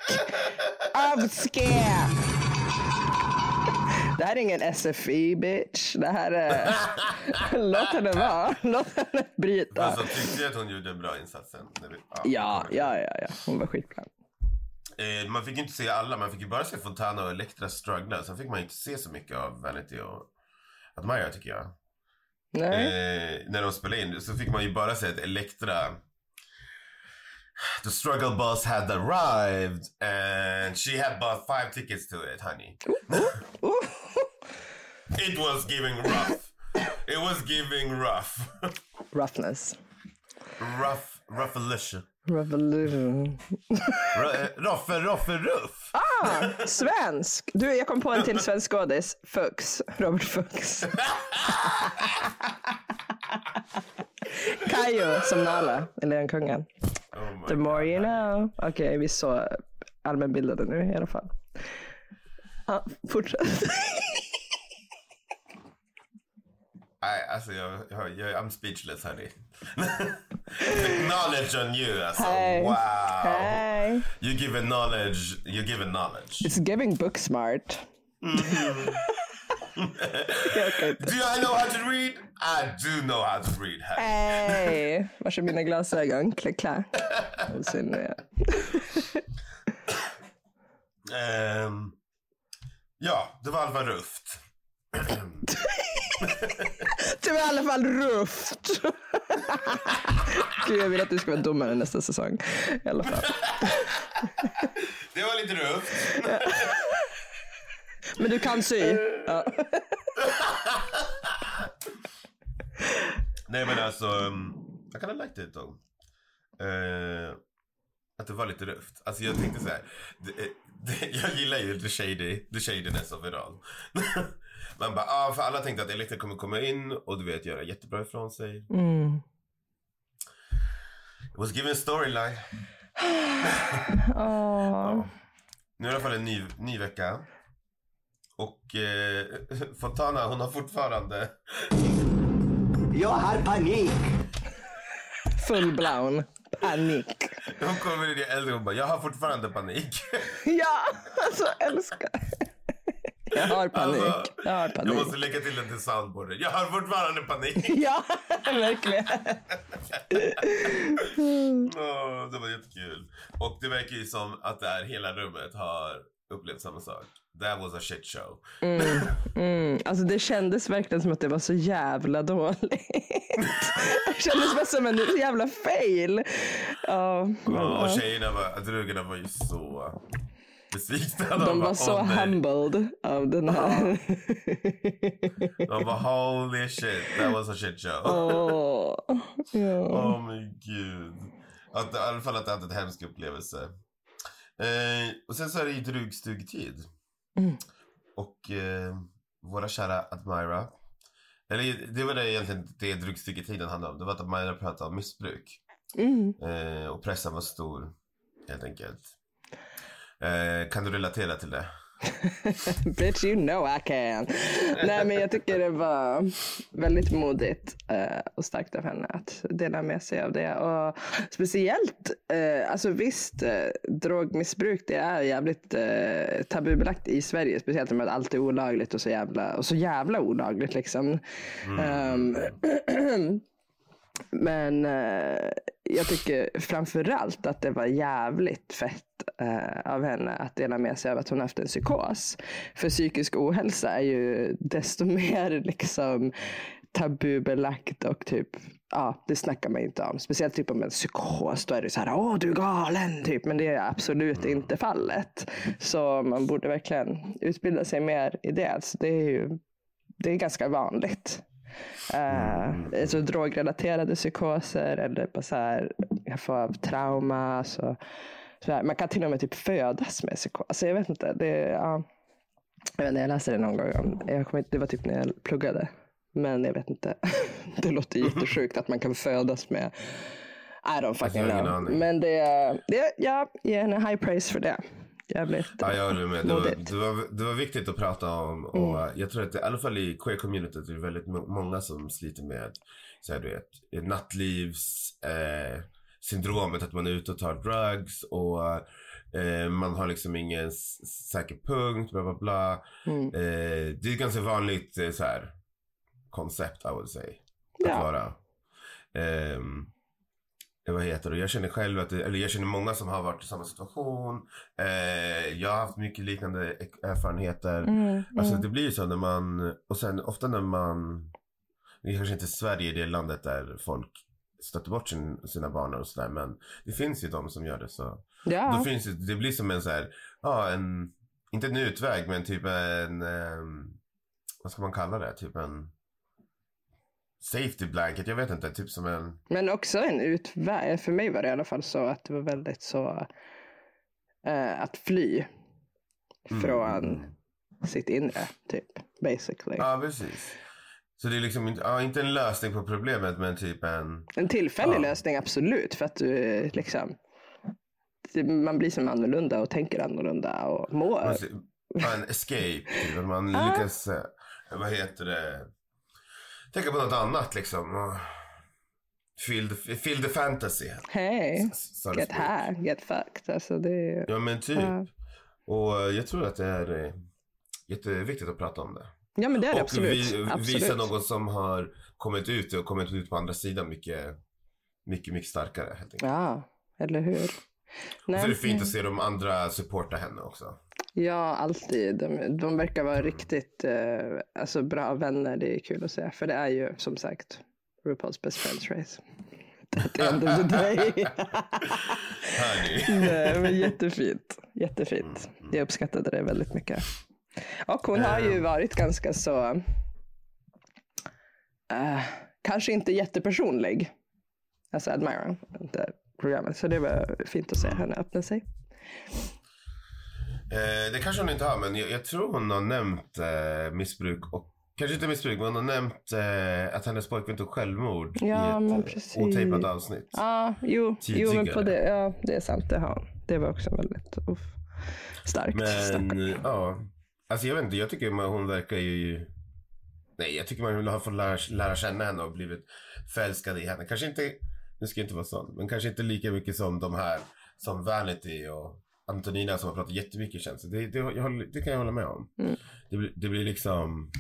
Speaker 3: avske. Det här är ingen SFI bitch. Det här är... Låt henne vara. Låt henne bryta.
Speaker 4: Alltså tyckte jag att hon gjorde en bra insats sen? När vi,
Speaker 3: Ja, ja, ja, ja. Hon var skitbra.
Speaker 4: Eh, man fick ju inte se alla, man fick ju bara se Fontana och Elektra struggla. Sen fick man ju inte se så mycket av Vanity och Admira tycker jag.
Speaker 3: Nej.
Speaker 4: Eh, när de spelade in så fick man ju bara se att Elektra The struggle bus had arrived and she had bought five tickets to it honey.
Speaker 3: Oh,
Speaker 4: It was giving rough. It was giving rough.
Speaker 3: roughness.
Speaker 4: rough, rough
Speaker 3: Revolution.
Speaker 4: eh, Roffe, Roffe, Ruff.
Speaker 3: Ah, svensk. Du, jag kom på en till svensk skådis. Fux. Robert Fux. Kayo som Nala, eller den kungen.
Speaker 4: Oh my
Speaker 3: The more you
Speaker 4: God.
Speaker 3: know. Okej, vi är så allmänbildade nu i alla fall. Ja, fortsätt.
Speaker 4: Nej, alltså jag, jag, jag I'm speechless honey. The knowledge on you alltså.
Speaker 3: Hey.
Speaker 4: Wow.
Speaker 3: Hej.
Speaker 4: You give a knowledge, you give a knowledge.
Speaker 3: It's giving book smart. Mm. Jag kan inte.
Speaker 4: Do I know how to read? I do know how to read honey.
Speaker 3: Hej! Varsågod mina glasögon. Klick, klack. Och sen, eh,
Speaker 4: Ehm, ja, det var Alva Ruft.
Speaker 3: Det var i alla fall ruft. Gud, jag vill att du ska vara domare nästa säsong. I alla fall.
Speaker 4: Det var lite ruft.
Speaker 3: Men du kan sy. Ja.
Speaker 4: Nej men alltså, um, I kind of liked it though. Eh, att det var lite ruft. Alltså jag tänkte så här. Det, eh, det, jag gillar ju the, shady, the shadiness of it all. Man bara, ah, för alla tänkte att Elektra kommer komma in och du vet göra jättebra ifrån sig. It was given storyline.
Speaker 3: Åh.
Speaker 4: Nu är det i alla fall en ny, ny vecka. Och eh, Fontana, hon har fortfarande...
Speaker 5: Jag har panik.
Speaker 3: Full blown. Panik.
Speaker 4: Hon kommer in i äldre och bara, jag har fortfarande panik.
Speaker 3: Ja, alltså älskar. Jag har panik.
Speaker 4: Alltså,
Speaker 3: jag har
Speaker 4: Jag
Speaker 3: panik.
Speaker 4: måste lägga till den till soundboarden. Jag har fortfarande panik.
Speaker 3: Ja, verkligen.
Speaker 4: Åh, det var jättekul. Och det verkar ju som att det här hela rummet har upplevt samma sak. That was a shit show.
Speaker 3: Mm, alltså det kändes verkligen som att det var så jävla dåligt. det kändes bara som en jävla fail. Ja, men,
Speaker 4: Och
Speaker 3: ja.
Speaker 4: tjejerna, var, drugerna var ju så besvikna. De,
Speaker 3: de
Speaker 4: bara,
Speaker 3: var så
Speaker 4: "Åh, nej."
Speaker 3: humbled av den här.
Speaker 4: De bara holy shit, that was a shit show. Åh
Speaker 3: Åh, ja.
Speaker 4: men gud. Att, I alla fall att det hade en hemsk upplevelse. Eh, och sen så är det ju drugstugetid. Och eh, våra kära Admira. Eller det var det egentligen det drugstugetiden handlade om. Det var att Admira pratade om missbruk.
Speaker 3: Mm.
Speaker 4: Eh, och pressen var stor, helt enkelt. Eh, kan du relatera till det?
Speaker 3: Bitch you know I can. Nej men jag tycker det var väldigt modigt eh, och starkt av henne att dela med sig av det. Och speciellt, eh, alltså visst eh, drogmissbruk det är jävligt eh, tabubelagt i Sverige. Speciellt med att allt är olagligt och så jävla, och så jävla olagligt liksom. Ehm, Men eh, jag tycker framförallt att det var jävligt fett eh, av henne att dela med sig av att hon haft en psykos. För psykisk ohälsa är ju desto mer liksom tabubelagt och typ, ja det snackar man ju inte om. Speciellt typ om en psykos, då är det så här, åh du är galen typ. Men det är absolut inte fallet. Så man borde verkligen utbilda sig mer i det. Alltså, det är ju det är ganska vanligt. Eh,
Speaker 4: Mm.
Speaker 3: alltså drogrelaterade psykoser eller bara så här, jag får av trauma. Så, så här. Man kan till och med typ födas med psykos. Alltså jag vet inte. Det, ja. jag, vet inte jag läste det någon gång. om- Jag kommer inte, det var typ när jag pluggade. Men jag vet inte. Det låter jättesjukt att man kan födas med I don't fucking
Speaker 4: Mhm. Jag har ingen
Speaker 3: know.
Speaker 4: aning.
Speaker 3: Men det, det ja, ge henne high praise för det. Jävligt
Speaker 4: Ja, jag håller med. Det var,
Speaker 3: modigt.
Speaker 4: det, var, det var viktigt att prata om. Och Jag tror att det, i alla fall i queer-communityt är det väldigt må- många som sliter med så här, du vet, nattlivs... Eh, syndromet att man är ute och tar drugs och eh, man har liksom ingen s- säker punkt, bla bla bla.
Speaker 3: Mm.
Speaker 4: Eh, det är ett ganska vanligt eh, så här, koncept, I would say.
Speaker 3: Ja.
Speaker 4: Att vara. Ehm, eh, vad heter det? Jag känner själv att, det, eller jag känner många som har varit i samma situation. Eh, jag har haft mycket liknande ek- erfarenheter.
Speaker 3: Mm,
Speaker 4: Alltså
Speaker 3: mm.
Speaker 4: det blir ju så när man, och sen ofta när man, det är kanske inte Sverige det landet där folk stöter bort sin, sina barn och sådär men det finns ju de som gör det så. Då
Speaker 3: Ja.
Speaker 4: finns det, det blir som en så här, ja en, inte en utväg men typ en, ehm, vad ska man kalla det, typ en safety blanket, jag vet inte, typ som en,
Speaker 3: Men också en utväg. För mig var det i alla fall så att det var väldigt så eh, att fly från sitt inre typ. Basically.
Speaker 4: Mm. ja precis. Så det är liksom inte, ja, inte en lösning på problemet men typ en,
Speaker 3: En tillfällig
Speaker 4: Ja.
Speaker 3: lösning absolut. För att du eh, liksom. det- Man blir som annorlunda och tänker annorlunda och mår.
Speaker 4: Man, ser- ja, en escape. Typ. att Man
Speaker 3: Ah.
Speaker 4: lyckas, eh, vad heter det, tänka på något annat liksom. Och Fill the, fill the fantasy.
Speaker 3: Hej.
Speaker 4: s- så att
Speaker 3: Get
Speaker 4: speak.
Speaker 3: här, get fucked. Alltså det är
Speaker 4: Ja men typ.
Speaker 3: Ja.
Speaker 4: Och eh, jag tror att det är eh, jätteviktigt att prata om det.
Speaker 3: Ja men det är det
Speaker 4: och
Speaker 3: absolut.
Speaker 4: vi,
Speaker 3: absolut.
Speaker 4: visa någon som har kommit ut och kommit ut på andra sidan mycket, mycket, mycket starkare helt enkelt.
Speaker 3: Ja, eller hur.
Speaker 4: Och
Speaker 3: Nej. mm.
Speaker 4: så är det fint att se de andra supporta henne också.
Speaker 3: Ja, alltid. De, de verkar vara riktigt eh, alltså bra vänner. Det är kul att se. För det är ju som sagt RuPaul's Best Friends Race. At the end of the day.
Speaker 4: Hörni.
Speaker 3: Nej, men jättefint. Jättefint. Jag uppskattade det väldigt mycket. Och hon har ju varit ganska så... eh, kanske inte jättepersonlig. Alltså Admira, det här programmet. Så det var fint att se henne öppna sig.
Speaker 4: Eh, det kanske hon inte har, men jag, jag tror hon har nämnt eh, missbruk och Kanske inte missbruk, men hon har nämnt eh, att hennes pojkvän tog självmord
Speaker 3: Ja,
Speaker 4: i
Speaker 3: men
Speaker 4: ett
Speaker 3: precis.
Speaker 4: eh, otejpat avsnitt.
Speaker 3: Ja, jo, jo men på
Speaker 4: Tidigare.
Speaker 3: det, ja, det är sant. Det, har, det var också väldigt uff, starkt. starkt.
Speaker 4: Men eh, ja, alltså jag vet inte, jag tycker man, hon verkar ju... Nej, jag tycker man har fått lära, lära känna henne och blivit förälskad i henne. Kanske inte, nu ska jag inte vara sån, men kanske inte lika mycket som de här som Vanity och Antonina som har pratat jättemycket känslor. Det, det, jag håller- det kan jag hålla med om. Det, blir- det blir liksom...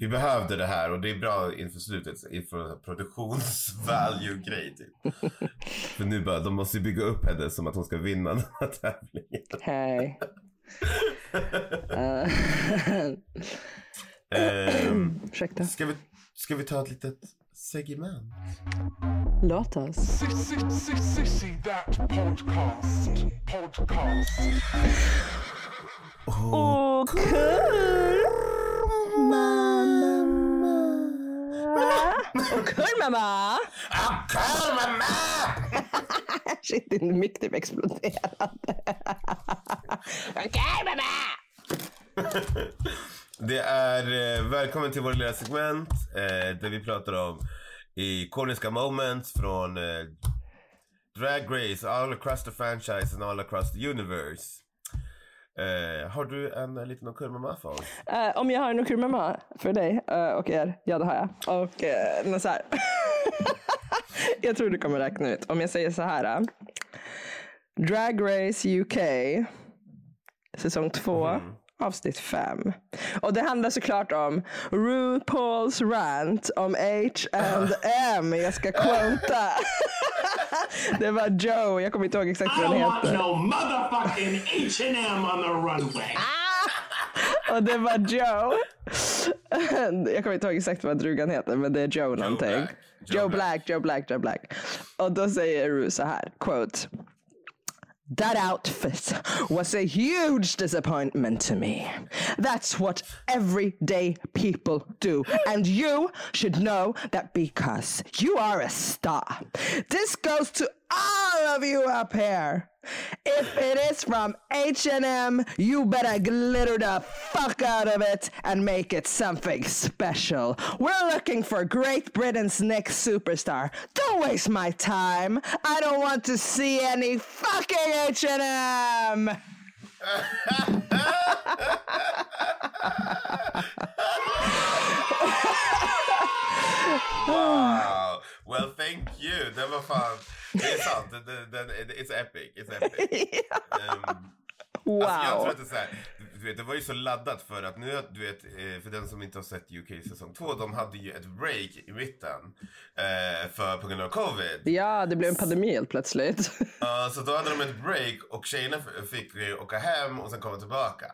Speaker 4: vi behövde det här och det är bra inför slutet, inför produktionsvalue-grej typ. För nu bara, de måste ju bygga upp henne som att hon ska vinna den här tävlingen.
Speaker 3: Hej. Eh,
Speaker 4: Ehm,
Speaker 3: ursäkta.
Speaker 4: ska, vi, ska vi ta ett litet segment?
Speaker 3: Låt oss.
Speaker 2: Sissy, sissy, sissy, that podcast, podcast.
Speaker 3: Och kurmamma.
Speaker 4: Akar mamma!
Speaker 3: Shit, din mick typ exploderade.
Speaker 4: Det är eh, välkommen till vårt lilla segment eh, där vi pratar om ikoniska moments från eh, Drag Race all across the franchise and all across the universe. Eh, har du en eh, liten kurmamma för oss?
Speaker 3: Eh, om jag har en kurmamma för dig eh, och er. Ja, det har jag. Och eh, men så här. jag tror du kommer räkna ut. Om jag säger så här. eh. Drag Race UK. Säsong 2. Avsnitt 5. Och det handlar såklart om RuPaul's rant om H&M. Jag ska quota. det var Joe. Jag kommer inte ihåg exakt vad
Speaker 6: I
Speaker 3: den
Speaker 6: don't want
Speaker 3: heter.
Speaker 6: no motherfucking H&M on the runway.
Speaker 3: Och det var Joe. Jag kommer inte ihåg exakt vad drugan heter, men det är Joe, någonting.
Speaker 4: Black.
Speaker 3: Joe,
Speaker 4: Joe
Speaker 3: Black. Joe Black, Joe Black. Och då säger Ru så här, quote. That outfit was a huge disappointment to me. That's what everyday people do. And you should know that because you are a star. This goes to all of you up here. If it is from H&M, you better glitter the fuck out of it and make it something special. We're looking for Great Britain's next superstar. Don't waste my time. I don't want to see any fucking H&M.
Speaker 4: Wow! Well thank you! Den var fan... Det är sant. Den, den, den, it's epic. It's epic. Ehm,
Speaker 3: Wow.
Speaker 4: Alltså jag tror att det är så här, du vet, det var ju så laddat för att nu, du vet, eh, för den som inte har sett UK säsong 2, de hade ju ett break i mitten eh, för, på grund av covid.
Speaker 3: Ja, det blev en pandemi helt plötsligt.
Speaker 4: Ja, så då hade de ett break och tjejerna f- fick eh, åka hem och sen komma tillbaka.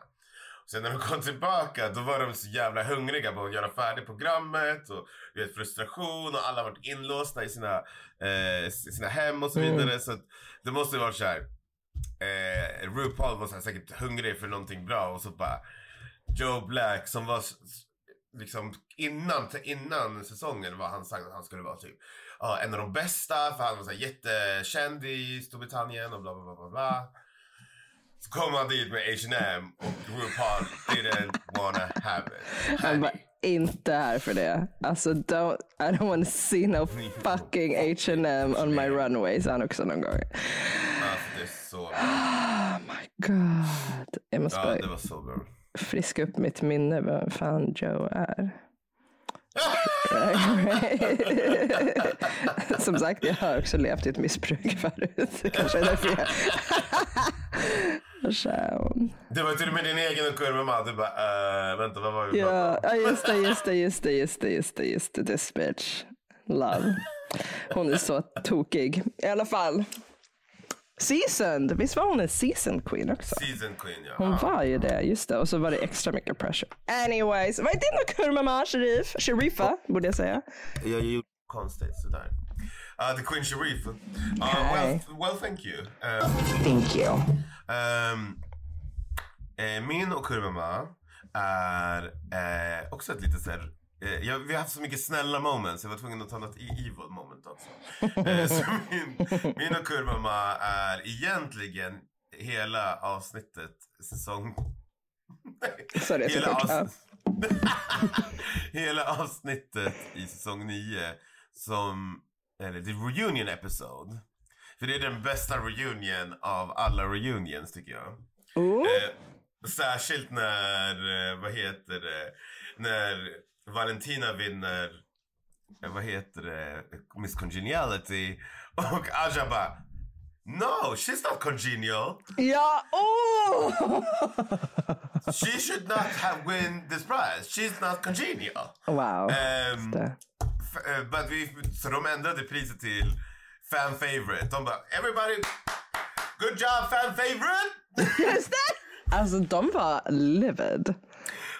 Speaker 4: Sen när de kom tillbaka då var de så jävla hungriga på att göra färdigt programmet och du vet, frustration och alla har varit inlåsta i sina, eh, s- sina hem och så
Speaker 3: Mm.
Speaker 4: vidare. Så att det måste ju varit så här. Eh, RuPaul var så här säkert hungrig för någonting bra och så bara Joe Black som var s- s- liksom innan, innan säsongen var han sagt att han skulle vara typ ja, en av de bästa för han var så här jättekänd i Storbritannien och bla bla bla bla. bla. Så kom han dit med H&M och RuPaul didn't wanna have it.
Speaker 3: Han var inte här för det. Alltså, don't, I don't want to see no fucking H&M on my runway, sa han också någon gång.
Speaker 4: Alltså det är så bra.
Speaker 3: Oh my god. Jag måste
Speaker 4: Ja,
Speaker 3: bara
Speaker 4: det var så bra.
Speaker 3: friska upp mitt minne vem fan Joe är. Som sagt, jag har också levt i ett missbruk förut. Det Kanske är därför jag... Joe.
Speaker 4: Det var till och med din egen kurvamma. Du bara, eh, vänta vad var det vi pratade
Speaker 3: Ja,
Speaker 4: om?
Speaker 3: ja, just det, just det, just det, just det, just det, just det, this bitch. Love. Hon är så tokig. I alla fall. Seasoned. Visst var hon en seasoned queen också?
Speaker 4: Season queen ja.
Speaker 3: Hon
Speaker 4: ja.
Speaker 3: var ju det, just det. Och så var det extra mycket pressure. Anyways, vad är din kurmama, Sharif? Sharifa, borde jag säga.
Speaker 4: Jag gjorde konstigt sådär. Uh, the Queen Sharif. Uh, well,
Speaker 3: Hej.
Speaker 4: well thank you. Eh,
Speaker 3: Thank you.
Speaker 4: Ehm, eh, min och kurvamma är eh, också ett litet såhär eh, jag, vi har haft så mycket snälla moments, jag var tvungen att ta något i evil moment också. Eh, så min, min och kurvamma är egentligen hela avsnittet, säsong...
Speaker 3: Sorry, jag
Speaker 4: hela,
Speaker 3: tog bort,
Speaker 4: avsn- hela avsnittet i säsong 9 som, eller the reunion episode. För det är den bästa reunion av alla reunions tycker jag.
Speaker 3: Oh,
Speaker 4: Eh, särskilt när, eh, vad heter det, när Valentina vinner, eh, vad heter det, Miss Congeniality och Aja bara No, she's not congenial.
Speaker 3: ja, oh!
Speaker 4: She should not have win this prize. She's not congenial.
Speaker 3: Wow.
Speaker 4: Ehm,
Speaker 3: Det.
Speaker 4: f- eh, but vi, så de ändrade priset till fan favorite. De bara, everybody, good job fan favorite!
Speaker 3: Just det! Alltså de var livid.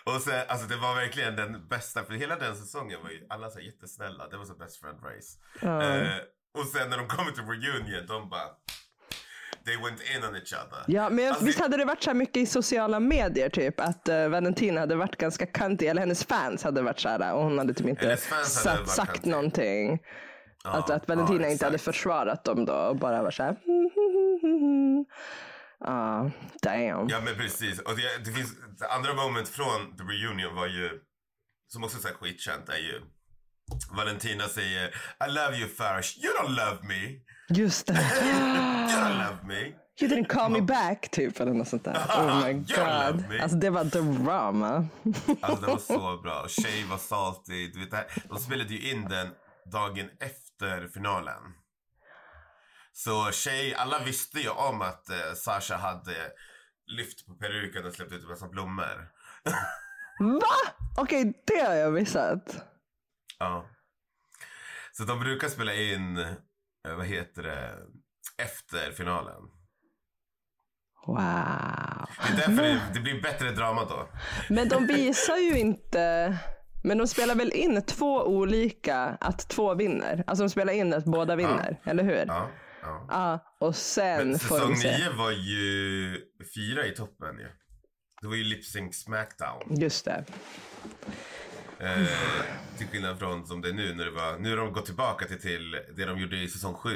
Speaker 4: Och sen, alltså det var verkligen den bästa, för hela den säsongen var ju alla så här jättesnälla. Det var så best friend race. Eh, och sen när de kommer till reunion, de bara... They went in on each other.
Speaker 3: Ja, men
Speaker 4: Alltså,
Speaker 3: visst hade det varit så här mycket i sociala medier typ att eh, Valentina hade varit ganska kantig eller hennes fans hade varit så här och hon hade typ inte
Speaker 4: Hennes fans
Speaker 3: sa-
Speaker 4: hade varit
Speaker 3: sagt
Speaker 4: kantig.
Speaker 3: någonting. att, att
Speaker 4: ja,
Speaker 3: Valentina inte hade
Speaker 4: exakt.
Speaker 3: försvarat dem då och bara var så här. Ja, damn.
Speaker 4: Ja, men precis. Och det, det finns det andra moment från the reunion var ju, som också är så här skitkänt, är ju Valentina säger I love you Farage, you don't love me.
Speaker 3: Just det.
Speaker 4: You don't love me.
Speaker 3: You didn't call me back typ eller något sånt där. Oh my
Speaker 4: You don't love
Speaker 3: god.
Speaker 4: me.
Speaker 3: Alltså det var drama.
Speaker 4: Alltså det var så bra. Och Shay var salty. Du vet, det här- de spelade ju in den dagen efter finalen. Så Shay, alla visste ju om att eh, Sasha hade lyft på peruken och släppt ut en massa blommor.
Speaker 3: Va? Okej, det har jag missat.
Speaker 4: Ja. Så de brukar spela in, eh, vad heter det, efter finalen.
Speaker 3: Wow.
Speaker 4: Det är därför det, det blir bättre drama då.
Speaker 3: Men de visar ju inte. Men de spelar väl in två olika, att två vinner. Alltså de spelar in att båda vinner, eller hur? Ja.
Speaker 4: Ja, ja.
Speaker 3: och sen
Speaker 4: Men
Speaker 3: får
Speaker 4: säsong
Speaker 3: de se.
Speaker 4: 9 var ju fyra i toppen ju. Det var ju Lip Sync Smackdown.
Speaker 3: Just det.
Speaker 4: Eh, till skillnad från som det är nu när det var, nu har de gått tillbaka till, till det de gjorde i säsong 7.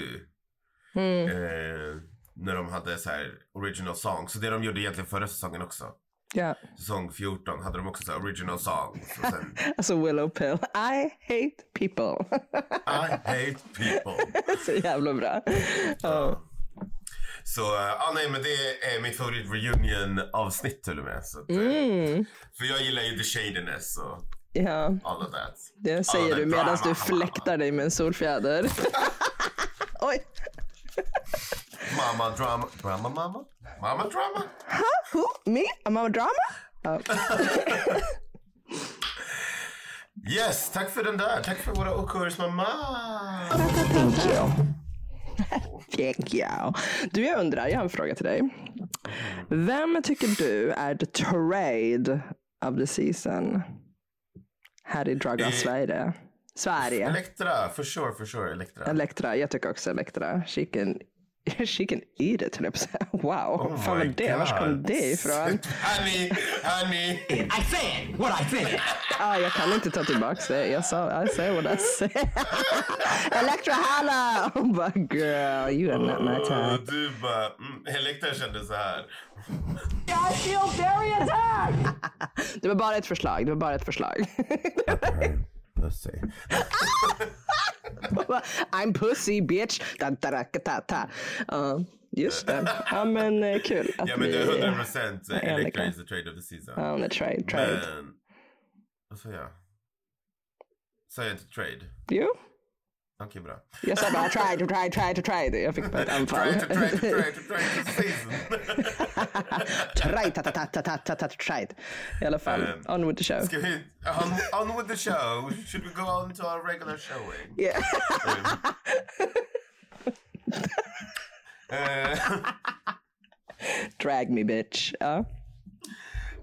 Speaker 3: Mm.
Speaker 4: Eh, när de hade så här original song. Så det de gjorde egentligen förra säsongen också.
Speaker 3: Ja.
Speaker 4: Säsong 14 hade de också så här original song. Och sen,
Speaker 3: Alltså Willow Pill. I hate people.
Speaker 4: I hate people.
Speaker 3: Så jävla bra. Ja.
Speaker 4: Så eh, ah, nej men det är mitt favorit reunion avsnitt till och med. Så att, eh,
Speaker 3: Mm.
Speaker 4: För jag gillar ju the shadiness och
Speaker 3: ja.
Speaker 4: all of that.
Speaker 3: Det
Speaker 4: All
Speaker 3: säger
Speaker 4: of
Speaker 3: du
Speaker 4: that
Speaker 3: medan
Speaker 4: drama.
Speaker 3: du fläktar dig med en solfjäder. Oj.
Speaker 4: Mamma drama. Drama mamma? Mamma drama?
Speaker 3: Who? Me? Am I a drama? Ja.
Speaker 4: Yes, tack för den där. Tack för våra åkurs mamma.
Speaker 3: Thank you. Thank you. Du, jag undrar, jag har en fråga till dig. Vem tycker du är the trade of the season? Här i Dragan
Speaker 4: Eh.
Speaker 3: Sverige. Sverige.
Speaker 4: Elektra, for sure, for sure. Elektra.
Speaker 3: Elektra, jag tycker också Elektra. She can, she can eat it, höll jag på att säga. Wow,
Speaker 4: Oh
Speaker 3: fan
Speaker 4: my
Speaker 3: vad det, vars kom
Speaker 4: God.
Speaker 3: det ifrån?
Speaker 4: honey, honey.
Speaker 5: I said what I said.
Speaker 3: Ah, jag kan inte ta tillbaks det. Jag sa, I say what I say. Elektra Halla! Hon bara, girl, you are not my type.
Speaker 4: Och Du bara, mm, Elektra kände så här.
Speaker 1: I feel very attacked!
Speaker 3: Det var bara ett förslag. Det var bara ett förslag.
Speaker 4: Mm, Let's see.
Speaker 3: I'm pussy bitch. Da, da, da, da, da. Ja, just det. Ja, men eh, kul att
Speaker 4: Ja men det är
Speaker 3: vi...
Speaker 4: 100 procent Elektra
Speaker 3: Elektra.
Speaker 4: is the trade of the season.
Speaker 3: Ja, men trade, trade.
Speaker 4: Men, vad sa jag? Sa jag inte trade?
Speaker 3: Jo,
Speaker 4: Okej, bra.
Speaker 3: jag sa bara trade, trade, trade, trade. Jag fick bara ett anfall.
Speaker 4: Trade, trade, trade, trade the season.
Speaker 3: Trade, ta, ta, ta, ta, ta, ta, ta, trade. I alla fall,
Speaker 4: Eh,
Speaker 3: on with the show.
Speaker 4: Ska vi, on, on with the show. Should we go on to our regular showing?
Speaker 3: Yeah.
Speaker 4: Eh,
Speaker 3: Drag me bitch. Ja.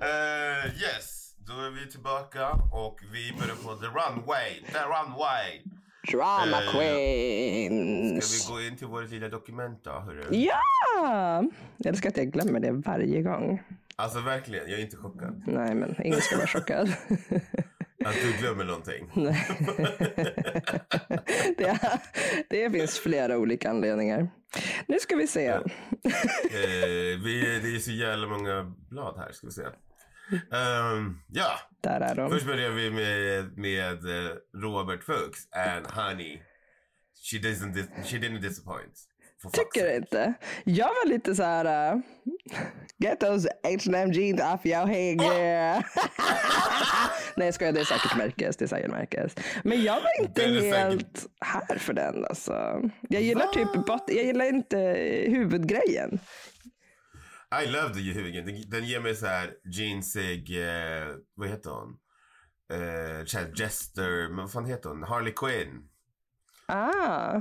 Speaker 4: Eh, yes, då är vi tillbaka och vi börjar på the runway. The runway.
Speaker 3: Drama
Speaker 4: Eh, Ska vi
Speaker 3: queens.
Speaker 4: gå in till vårt lilla dokument då? Hörru?
Speaker 3: Ja! Jag älskar att jag glömmer det varje gång.
Speaker 4: Alltså verkligen, jag är inte chockad.
Speaker 3: Nej, men ingen ska vara chockad.
Speaker 4: Att du glömmer någonting.
Speaker 3: Det, det finns flera olika anledningar. Nu ska vi se.
Speaker 4: Eh, vi, det är så jävla många blad här, ska vi se. Ehm, ja,
Speaker 3: Där är de.
Speaker 4: först börjar vi med, med eh, Robert Fuchs and Honey. She, doesn't dis- she didn't disappoint. For fuck's
Speaker 3: Tycker
Speaker 4: sake.
Speaker 3: du inte? Jag var lite så här... Uh, get those H&M jeans off your head girl. Nej jag skojar, det är säkert märkes. Det är säkert märkes. Men jag var inte
Speaker 4: Det är det
Speaker 3: helt här för den alltså. Jag gillar typ bot- Jag gillar inte huvudgrejen.
Speaker 4: I love the Hugen. Den- Den ger mig så här jeansig, eh, vad heter hon? Eh, så här Jester, men vad fan heter hon? Harley Quinn.
Speaker 3: Ah,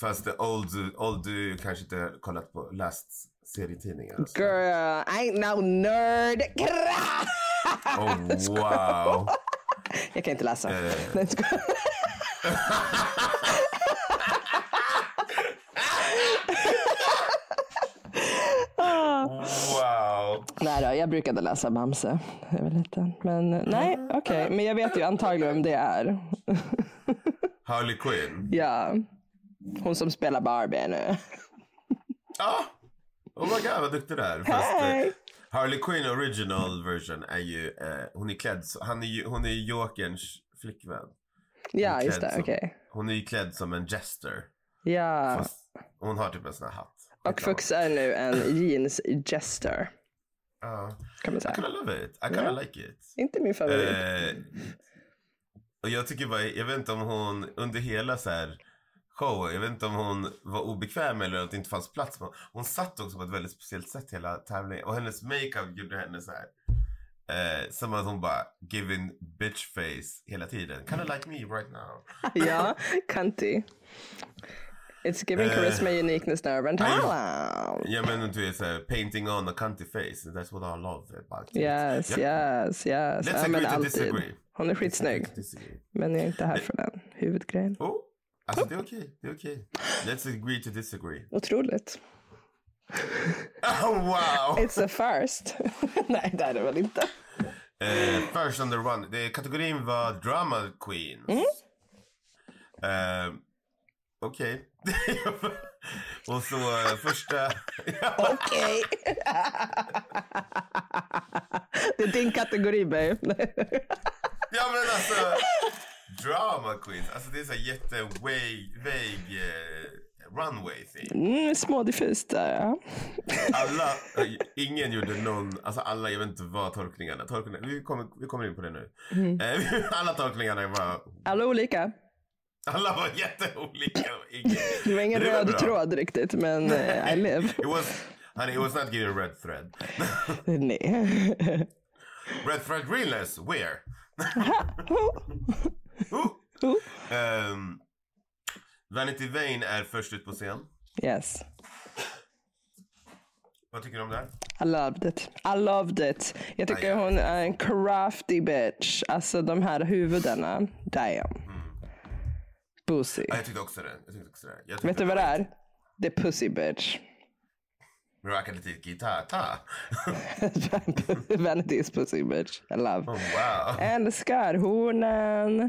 Speaker 4: Fast the old, old du kanske inte har kollat på, läst serietidningar. alltså.
Speaker 3: girl, I ain't no nerd. Krah!
Speaker 4: Oh, wow.
Speaker 3: Jag kan inte läsa.
Speaker 4: Eh.
Speaker 3: Nej, jag skojar.
Speaker 4: Wow.
Speaker 3: Nej då, jag brukade läsa Bamse när jag var liten. Men eh, nej, okej. Men jag vet ju antagligen vem det är.
Speaker 4: Harley Quinn.
Speaker 3: ja. Hon som spelar Barbie nu.
Speaker 4: Ja. Oh my god, vad duktig du är. Fast, eh,
Speaker 3: Hej!
Speaker 4: Harley Quinn original version är ju, eh, hon är klädd, så- han är ju, hon är ju Jokerns flickvän.
Speaker 3: Ja, just det.
Speaker 4: klädd som-
Speaker 3: Okej.
Speaker 4: Hon är ju klädd som en jester.
Speaker 3: Ja.
Speaker 4: Fast hon har typ en sån här hatt.
Speaker 3: Och Fux är nu en jeans jester.
Speaker 4: Ja.
Speaker 3: Kan man
Speaker 4: I kinda
Speaker 3: säga.
Speaker 4: love it. I kinda
Speaker 3: Ja.
Speaker 4: like it.
Speaker 3: Inte min favorit.
Speaker 4: Eh, och jag tycker bara, jag vet inte om hon under hela så här showen, jag vet inte om hon var obekväm eller att det inte fanns plats. Men hon satt också på ett väldigt speciellt sätt hela tävlingen och hennes makeup gjorde henne så här. Eh, som att hon bara giving bitch face hela tiden. Kinda like me right now.
Speaker 3: ja, Kanti. It's giving
Speaker 4: Eh. Ah,
Speaker 3: charisma, uniqueness, nerve and
Speaker 4: Aj.
Speaker 3: talent.
Speaker 4: Ja men du är såhär painting on a cunty face. That's what I love about it.
Speaker 3: Yes,
Speaker 4: Ja,
Speaker 3: yes, yes.
Speaker 4: Let's
Speaker 3: Ja, men
Speaker 4: agree to
Speaker 3: alltid.
Speaker 4: disagree.
Speaker 3: Hon är skitsnygg.
Speaker 4: disagree.
Speaker 3: Men jag är inte här för den huvudgrejen.
Speaker 4: Oh, alltså det är okej. Det är okej. Let's agree to disagree.
Speaker 3: Otroligt.
Speaker 4: Oh, wow!
Speaker 3: It's a first. Nej, det är det väl inte.
Speaker 4: Eh, first on the run. Det, kategorin var drama queens. Eh, Okej. Och så eh, första...
Speaker 3: Okej. det är din kategori, babe.
Speaker 4: ja men alltså! Drama queens. Alltså det är så här jätte vague, vague eh, runway thing.
Speaker 3: Mm, smådiffust där, ja.
Speaker 4: Alla, eh, ingen gjorde någon, alltså alla, jag vet inte vad tolkningarna, tolkningarna vi, kommer, vi kommer in på det nu. Eh, alla tolkningarna var,
Speaker 3: Alla olika.
Speaker 4: alla var jätteolika. och Ingen,
Speaker 3: Det var ingen
Speaker 4: Det var
Speaker 3: röd
Speaker 4: bra.
Speaker 3: tråd riktigt, men eh, I live.
Speaker 4: It was, honey, it was not giving red thread.
Speaker 3: Nej.
Speaker 4: Red thread realness, where? Ooh. Ehm, Vanity Vane är först ut på scen.
Speaker 3: yes.
Speaker 4: Vad tycker du om det här?
Speaker 3: I loved it. I loved it. Jag tycker hon är en crafty bitch. Alltså de här huvudena. Damn. Pussy.
Speaker 4: Ja, jag tyckte också det. Jag tyckte också det. Jag tyckte
Speaker 3: Vet du vad det är? Det är pussy bitch.
Speaker 4: Rockade lite gitarr. ta.
Speaker 3: Vanity is pussy bitch. I love.
Speaker 4: Oh,
Speaker 3: Eh,
Speaker 4: wow.
Speaker 3: Älskar hornen.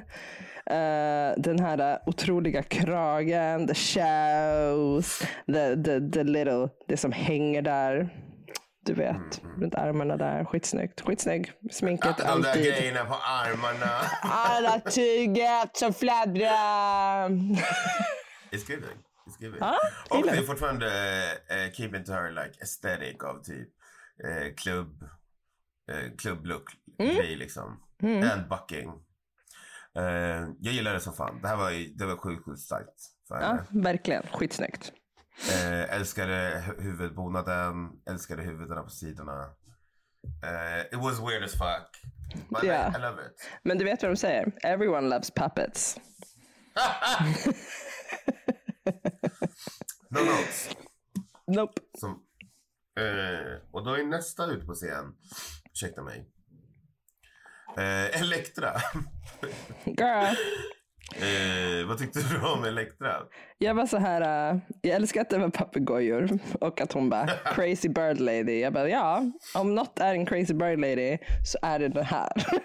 Speaker 3: eh, den här otroliga kragen. The shows. The, the, the little. Det som hänger där. Du vet, runt armarna där. Skitsnyggt. Skitsnygg. Sminket
Speaker 4: De där
Speaker 3: alltid.
Speaker 4: grejerna på armarna.
Speaker 3: Alla tyget som fladdrar.
Speaker 4: It's giving. It's giving.
Speaker 3: Ja,
Speaker 4: Och det
Speaker 3: gillar.
Speaker 4: är fortfarande uh, keeping to her like aesthetic av typ eh, klubb, eh, klubblook
Speaker 3: Mm.
Speaker 4: grej liksom. And bucking. Eh, jag gillar det som fan. Det här var, ju- det var sjukt, sjukt starkt. För
Speaker 3: Ja,
Speaker 4: henne.
Speaker 3: verkligen. Skitsnyggt.
Speaker 4: Eh, älskade hu- huvudbonaden, älskade huvudena på sidorna. Eh, it was weird as fuck. But
Speaker 3: Ja.
Speaker 4: I, I love it.
Speaker 3: Men du vet vad de säger? Everyone loves puppets.
Speaker 4: No notes.
Speaker 3: Nope.
Speaker 4: Som, eh, och då är nästa ut på scen, ursäkta mig, eh, Elektra.
Speaker 3: Girl.
Speaker 4: eh, vad tyckte du om Elektra?
Speaker 3: Jag var så här, äh, jag älskar att det var papegojor och att hon bara crazy bird lady. Jag bara ja, om något är en crazy bird lady så är det det här.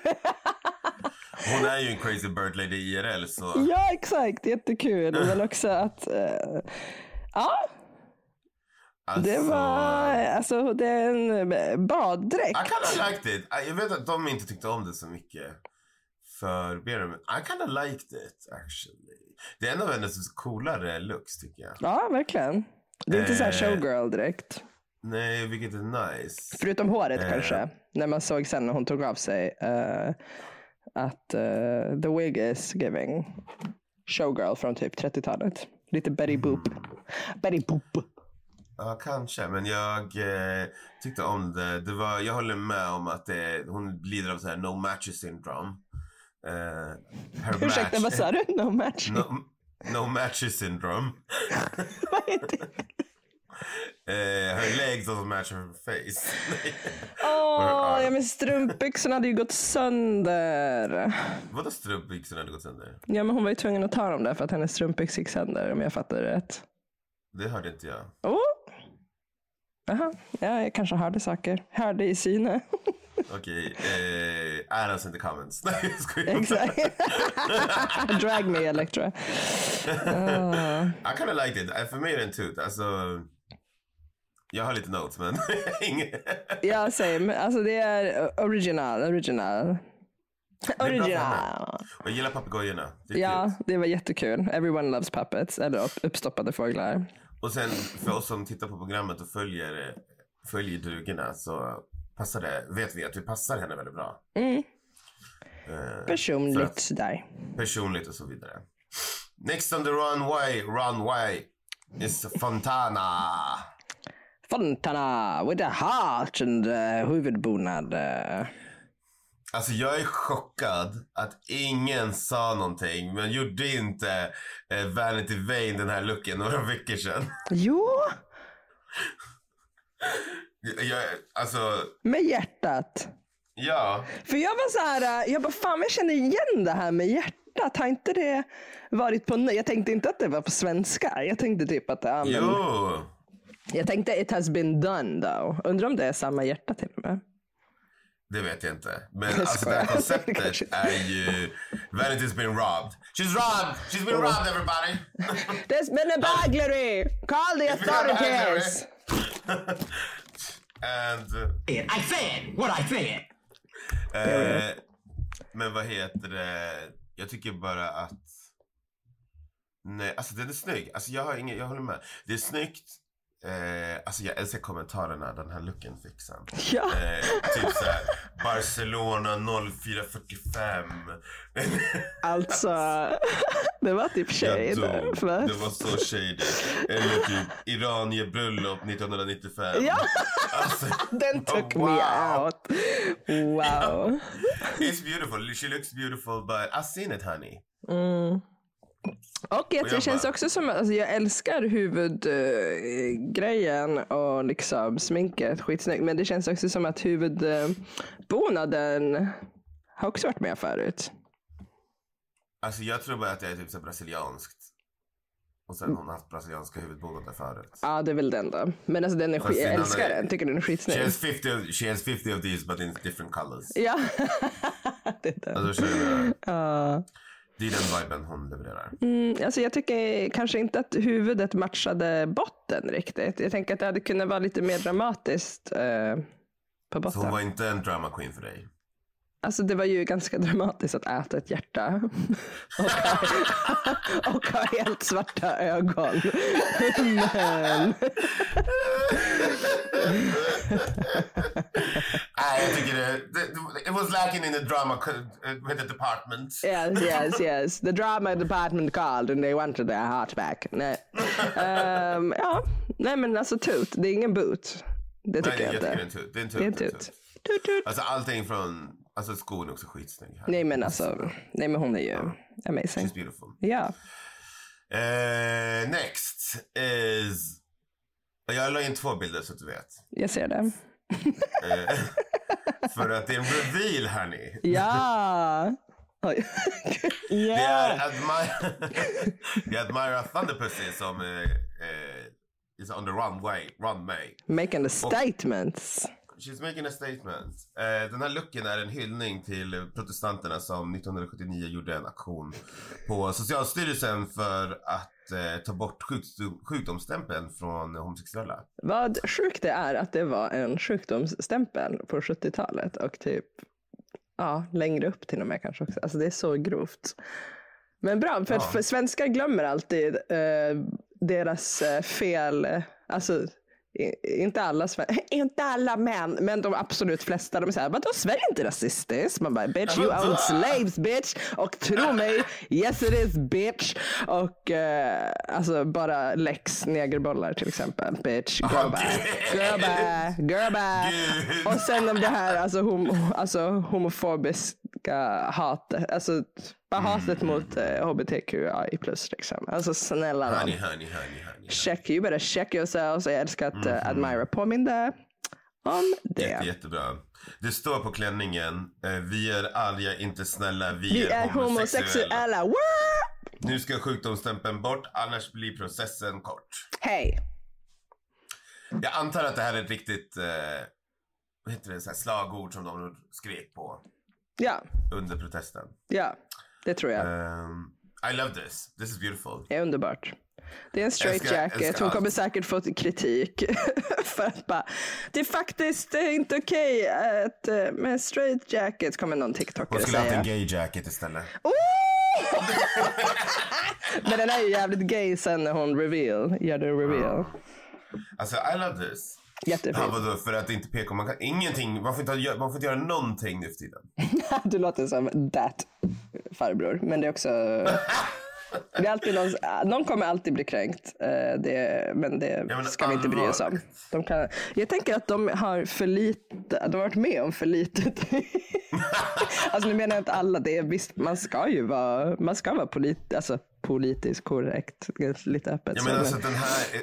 Speaker 4: Hon är ju en crazy bird lady IRL så
Speaker 3: ja exakt, jättekul. Men också att, äh, ja
Speaker 4: alltså,
Speaker 3: det var, alltså det är en äh,
Speaker 4: I
Speaker 3: baddräkt.
Speaker 4: kinda liked it. I- Jag vet att de inte tyckte om det så mycket för Berum. I kinda liked it actually. Det är en av hennes coolare looks tycker jag.
Speaker 3: Ja verkligen. Det är inte så här
Speaker 4: Eh.
Speaker 3: showgirl direkt.
Speaker 4: Nej, vilket är nice.
Speaker 3: Förutom håret
Speaker 4: Eh.
Speaker 3: kanske. När man såg sen när hon tog av sig eh, att eh, the wig is giving
Speaker 4: Mm.
Speaker 3: showgirl från typ 30-talet. Lite Betty Boop. Betty Boop.
Speaker 4: Ja, kanske. Men jag eh, tyckte om det. det var, jag håller med om att det, hon lider av så här no matches syndrome. Eh, her
Speaker 3: Ursäkta,
Speaker 4: match-
Speaker 3: vad sa du? No match?
Speaker 4: No, no matches syndrome.
Speaker 3: Vad är det?
Speaker 4: Eh, her legs doesn't match her face.
Speaker 3: Åh, ja, men strumpbyxorna hade ju gått sönder.
Speaker 4: Vadå strumpbyxorna hade gått sönder?
Speaker 3: Ja, men hon var ju tvungen att ta dem där för att hennes strumpbyxor gick sönder om jag fattar det rätt.
Speaker 4: Det hörde inte jag.
Speaker 3: Oh. Jaha, ja, jag kanske hörde saker. Hörde i syne.
Speaker 4: Okej, eh, add us in the comments. Nej, jag skojar.
Speaker 3: Exakt. Drag me Electra.
Speaker 4: I kind of liked it. Eh, För mig är det en tut. Alltså, jag har lite notes men inget.
Speaker 3: Ja, same. Alltså det är original, original. Original.
Speaker 4: Jag gillar papegojorna. Det är
Speaker 3: Ja,
Speaker 4: cute.
Speaker 3: det var jättekul. Everyone loves puppets, eller upp- uppstoppade fåglar.
Speaker 4: Och sen för oss som tittar på programmet och följer, följer drugorna så passar det, vet vi att vi passar henne väldigt bra.
Speaker 3: Mm.
Speaker 4: Eh,
Speaker 3: Personligt sådär.
Speaker 4: Personligt och så vidare. Next on the runway, runway is Fontana.
Speaker 3: Fontana with a heart and uh, huvudbonad. eh.
Speaker 4: Alltså jag är chockad att ingen sa någonting men gjorde inte eh, Vanity Vane den här looken några veckor sedan.
Speaker 3: Jo,
Speaker 4: Jag, alltså,
Speaker 3: med hjärtat.
Speaker 4: ja.
Speaker 3: För jag var så här, eh, jag bara fan jag känner igen det här med hjärtat. Har inte det varit på, jag tänkte inte att det var på svenska. Jag tänkte typ att, ja, men,
Speaker 4: Jo.
Speaker 3: jag tänkte it has been done though. Undrar om det är samma hjärta till och med.
Speaker 4: Det vet jag inte. Men
Speaker 3: Jag
Speaker 4: alltså det
Speaker 3: skojar.
Speaker 4: här
Speaker 3: Det
Speaker 4: konceptet
Speaker 3: kanske inte-
Speaker 4: är ju... Vanity's been robbed. She's robbed! She's been robbed everybody!
Speaker 3: There's been a burglary! Call the authorities!
Speaker 4: And...
Speaker 5: I said what I said.
Speaker 4: Eh, men vad heter det? Jag tycker bara att... Nej, alltså den är snygg. Alltså jag har ingen, jag håller med. Det är snyggt. Eh, alltså jag älskar kommentarerna den här looken fick sen.
Speaker 3: Ja.
Speaker 4: Eh, typ såhär, Barcelona 0445.
Speaker 3: Alltså, det var typ
Speaker 4: Jag
Speaker 3: shade.
Speaker 4: dog.
Speaker 3: va?
Speaker 4: Det var så shady. Eller typ Iran ger bröllop 1995.
Speaker 3: Ja.
Speaker 4: Alltså,
Speaker 3: Den took
Speaker 4: Wow.
Speaker 3: me out. Wow.
Speaker 4: it's beautiful. She looks beautiful but I've seen it honey.
Speaker 3: Och att
Speaker 4: jag
Speaker 3: det känns
Speaker 4: bara-
Speaker 3: också som att alltså, jag älskar huvudgrejen eh, grejen och liksom sminket. Skitsnyggt. Men det känns också som att huvudbonaden har också varit med förut.
Speaker 4: Alltså jag tror bara att det är typ så här brasilianskt. Och sen hon har haft brasilianska huvudbonader förut.
Speaker 3: Ja, det är väl den då. Men alltså den är
Speaker 4: Fast
Speaker 3: skit... Jag
Speaker 4: den
Speaker 3: älskar
Speaker 4: andra-
Speaker 3: den. Tycker den är
Speaker 4: She
Speaker 3: skitsnygg.
Speaker 4: has, 50 of, she has 50 of these but in different colors.
Speaker 3: Ja, det är den.
Speaker 4: Alltså, känner jag-
Speaker 3: Ja.
Speaker 4: det är den viben hon levererar.
Speaker 3: Ah. Mm, alltså jag tycker kanske inte att huvudet matchade botten riktigt. Jag tänker att det hade kunnat vara lite mer dramatiskt eh, på
Speaker 4: Så hon
Speaker 3: botten.
Speaker 4: var inte en drama queen för dig.
Speaker 3: Alltså det var ju ganska dramatiskt att äta ett hjärta och, ha, och ha helt svarta ögon. Men,
Speaker 4: Nej, Ah, jag tycker det, det... It was lacking in the drama co- eh, with the department.
Speaker 3: yes, yes, yes. The drama department called and they wanted their heart back. Nej, Ehm, ja. Nej men alltså tut, det är ingen boot. Det tycker
Speaker 4: Nej,
Speaker 3: jag,
Speaker 4: jag tycker det är en
Speaker 3: inte.
Speaker 4: tut. Det är en tut.
Speaker 3: Det är en
Speaker 4: det är en
Speaker 3: tut. Tut, tut.
Speaker 4: Alltså allting från, alltså skon är också skitsnygg här.
Speaker 3: Nej men alltså, nej men hon är ju amazing.
Speaker 4: She's beautiful.
Speaker 3: Ja.
Speaker 4: Eh, next is, och jag la in två bilder så att du vet.
Speaker 3: Jag ser det.
Speaker 4: Eh, för att det är en reveal hörni.
Speaker 3: Ja! Oj.
Speaker 4: Det är
Speaker 3: ja.
Speaker 4: Admira, det är Admira Thunderpussy som eh, eh, is on the runway, runway.
Speaker 3: Making the statements.
Speaker 4: She's making a statement. Eh, den här looken är en hyllning till protestanterna som 1979 gjorde en aktion på Socialstyrelsen för att eh, ta bort sjukdom, sjukdomsstämpeln från homosexuella.
Speaker 3: Vad sjukt det är att det var en sjukdomsstämpel på 70-talet och typ ja, längre upp till och med kanske också. Alltså det är så grovt. Men bra, för,
Speaker 4: Ja.
Speaker 3: för svenskar glömmer alltid eh, deras eh, fel. Alltså i- inte alla, sven- inte alla män, men de absolut flesta, de är såhär, vadå Sverige är inte rasistiskt? Man bara, bitch you own slaves bitch. Och tro mig, yes it is bitch. Och eh, alltså bara lex negerbollar till exempel. Bitch, girl bye, girl bye, girl bye. Och sen om det här alltså, hom- alltså homofobiska hatet, alltså bara hatet mot eh, hbtqi plus liksom. Alltså snälla nån.
Speaker 4: Honey, honey, honey, honey.
Speaker 3: Check, you better check yourselves. Jag älskar att eh, Admira påminde om
Speaker 4: Jätte,
Speaker 3: det.
Speaker 4: jättebra. Det står på klänningen, eh, vi är arga, inte snälla, vi,
Speaker 3: Vi är homosexuella. Woo!
Speaker 4: Nu ska sjukdomsstämpeln bort, annars blir processen kort.
Speaker 3: Hej!
Speaker 4: Jag antar att det här är ett riktigt eh, vad heter det, så här slagord som de skrek på
Speaker 3: Ja,
Speaker 4: under protesten.
Speaker 3: ja, det tror jag.
Speaker 4: Ehm, I love this. This is beautiful.
Speaker 3: Det är underbart. Det är en straight
Speaker 4: Älskar-
Speaker 3: jacket.
Speaker 4: älskar
Speaker 3: Hon
Speaker 4: allt.
Speaker 3: kommer säkert få kritik. för att bara, det är faktiskt eh, inte okej att, eh, med straight jacket, kommer någon
Speaker 4: Hon
Speaker 3: tiktokare
Speaker 4: skulle haft
Speaker 3: säga. Oh!
Speaker 4: en gay jacket istället.
Speaker 3: Men den är ju jävligt gay sen när hon reveal, gör det reveal.
Speaker 4: Alltså, I love this. Ja,
Speaker 3: Jättefint.
Speaker 4: vadå, för att inte PK, man kan ingenting, man får inte, ha- man får inte göra någonting nu för tiden.
Speaker 3: Du låter som that farbror. Men det är också... Det är alltid någon, någon kommer alltid bli kränkt. Eh, Det, men det
Speaker 4: men
Speaker 3: ska vi inte bry oss om.
Speaker 4: allvarligt.
Speaker 3: De kan, jag tänker att de har för lite, de har varit med om för lite. alltså nu menar jag inte alla det. Visst, man ska ju vara, man ska vara polit, alltså, politiskt korrekt. Lite öppet. så,
Speaker 4: Jag menar
Speaker 3: men-
Speaker 4: alltså att den här, eh,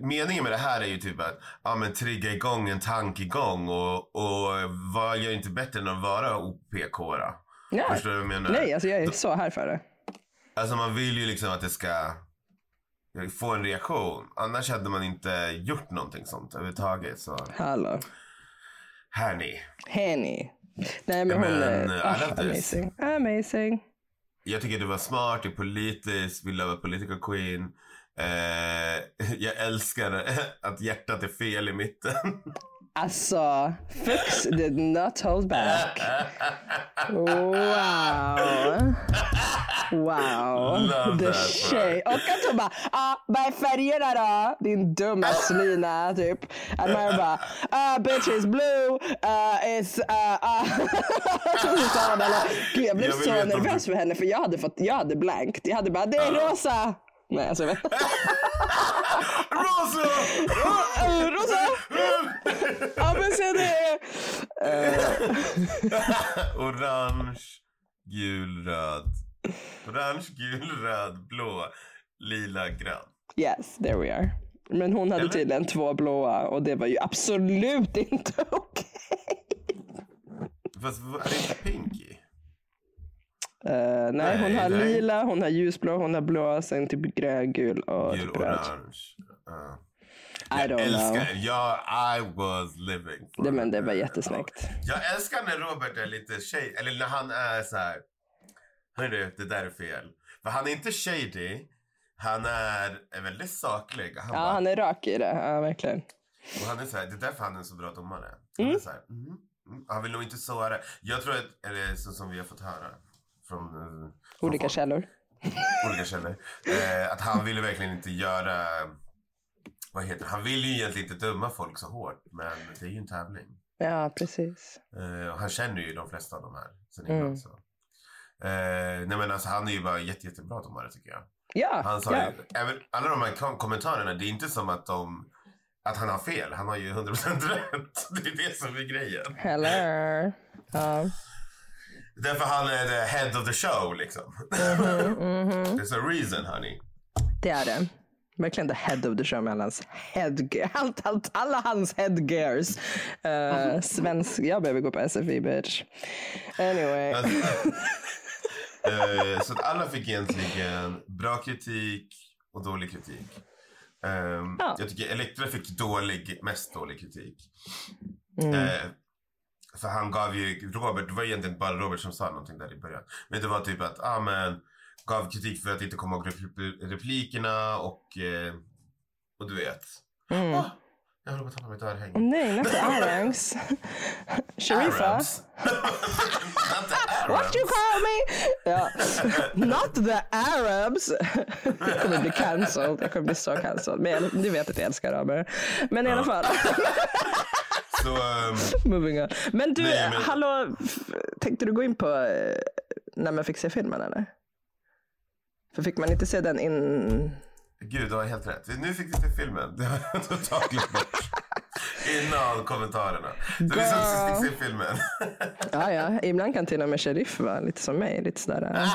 Speaker 4: eh, meningen med det här är ju typ att ja, men trigga igång en tankegång och, och vad gör inte bättre än att vara OPK då?
Speaker 3: Ja.
Speaker 4: Förstår du vad jag menar?
Speaker 3: Nej, alltså jag är så här för det.
Speaker 4: Alltså man vill ju liksom att det ska få en reaktion. Annars hade man inte gjort någonting sånt överhuvudtaget. Så
Speaker 3: Hallå.
Speaker 4: här ni.
Speaker 3: Henny. Nej, men hon
Speaker 4: men,
Speaker 3: är
Speaker 4: eh,
Speaker 3: ah,
Speaker 4: alla dess.
Speaker 3: amazing. Amazing.
Speaker 4: Jag tycker du var smart, du är politisk, vill vara political queen. Eh, jag älskar att hjärtat är fel i mitten.
Speaker 3: Alltså, Fuchs did not hold back. Wow. Wow.
Speaker 4: Love
Speaker 3: The
Speaker 4: that
Speaker 3: shade. Och att hon bara, ah, vad är färgerna då? Din dumma svina, typ. Att man bara, ah, bitch is blue, uh, is, uh, ah. Så sa hon alla- Gud, jag blev
Speaker 4: Jag vill
Speaker 3: så
Speaker 4: veta om
Speaker 3: nervös för henne för jag hade fått, jag hade blankt. Jag hade bara, det är rosa. Nej, alltså jag vet inte.
Speaker 4: Rosa!
Speaker 3: Eh, Rosa! Ja, men se det. är-
Speaker 4: Orange, gul, röd. Orange, gul, röd, blå, lila, grön.
Speaker 3: Yes, there we are. Men hon hade
Speaker 4: Eller?
Speaker 3: tydligen två blåa och det var ju absolut inte okej.
Speaker 4: Fast vad- är det inte pinky?
Speaker 3: Eh, nej, hon har
Speaker 4: nej.
Speaker 3: lila, hon har ljusblå, hon har blå, sen typ grön, gul och
Speaker 4: Gul,
Speaker 3: typ röd.
Speaker 4: orange. Ja.
Speaker 3: I
Speaker 4: Jag
Speaker 3: don't know.
Speaker 4: älskar, jag, I was living for
Speaker 3: Det, men det var
Speaker 4: it.
Speaker 3: jättesnyggt.
Speaker 4: Jag älskar när Robert är lite tjej, eller när han är så här. Hörru, det där är fel. För han är inte shady. Han är är väldigt saklig. Han,
Speaker 3: Ja,
Speaker 4: bara,
Speaker 3: han är rak i det. Ja, verkligen.
Speaker 4: Och han är så här, det är därför han är en så bra domare. Han, är så här, mm, mm, han vill nog inte såra. Jag tror att, eller så som vi har fått höra från, eh, från
Speaker 3: Olika
Speaker 4: folk,
Speaker 3: källor.
Speaker 4: olika källor. Eh, att han ville verkligen inte göra, vad heter det? Han vill ju egentligen inte döma folk så hårt. Men det är ju en tävling.
Speaker 3: Ja, precis.
Speaker 4: Eh, och han känner ju de flesta av de här sen innan. Så. Eh, nej men alltså han är ju bara jätte, jättebra domare tycker jag.
Speaker 3: Ja,
Speaker 4: Han sa
Speaker 3: ja.
Speaker 4: ju, även alla de här kom- kommentarerna, det är inte som att de, att han har fel. Han har ju 100% rätt. Det är det som är grejen.
Speaker 3: Hello. Ja.
Speaker 4: Därför han är the head of the show liksom. There's a reason honey.
Speaker 3: Det är det. Verkligen the head of the show med alla hans headgear. Allt, allt, alla hans headgears. Uh, svensk. Jag behöver gå på SFI bitch. Anyway.
Speaker 4: Alltså, eh, så att alla fick egentligen bra kritik och dålig kritik. Ehm,
Speaker 3: Ja.
Speaker 4: Jag tycker Elektra fick dålig, mest dålig kritik. Eh, för han gav ju Robert, det var egentligen bara Robert som sa någonting där i början. Men det var typ att, ah, men, gav kritik för att inte komma ihåg repl- replikerna och, eh, och du vet. Ah, Jag håller på att tappa mitt örhänge.
Speaker 3: Åh nej, inte Arangs. Sharifa.
Speaker 4: Arabs. Inte
Speaker 3: What
Speaker 4: Arabs.
Speaker 3: you call me? Ja. Not the Arabs. Jag kommer bli cancelled. Jag kommer bli så cancelled. Men jag- du vet att jag älskar araber. Men i alla fall.
Speaker 4: Så, ehm,
Speaker 3: Moving on. Men du,
Speaker 4: Nej, men-
Speaker 3: hallå. f- Tänkte du gå in på eh, när man fick se filmen eller? För fick man inte se den in...
Speaker 4: gud, du har helt rätt. Nu fick vi till filmen. Det har jag totalt glömt bort. Innan kommentarerna. Så vi såg sist fick se filmen.
Speaker 3: Ja, ja. Ibland kan till och med sheriff vara lite som mig. Lite sådär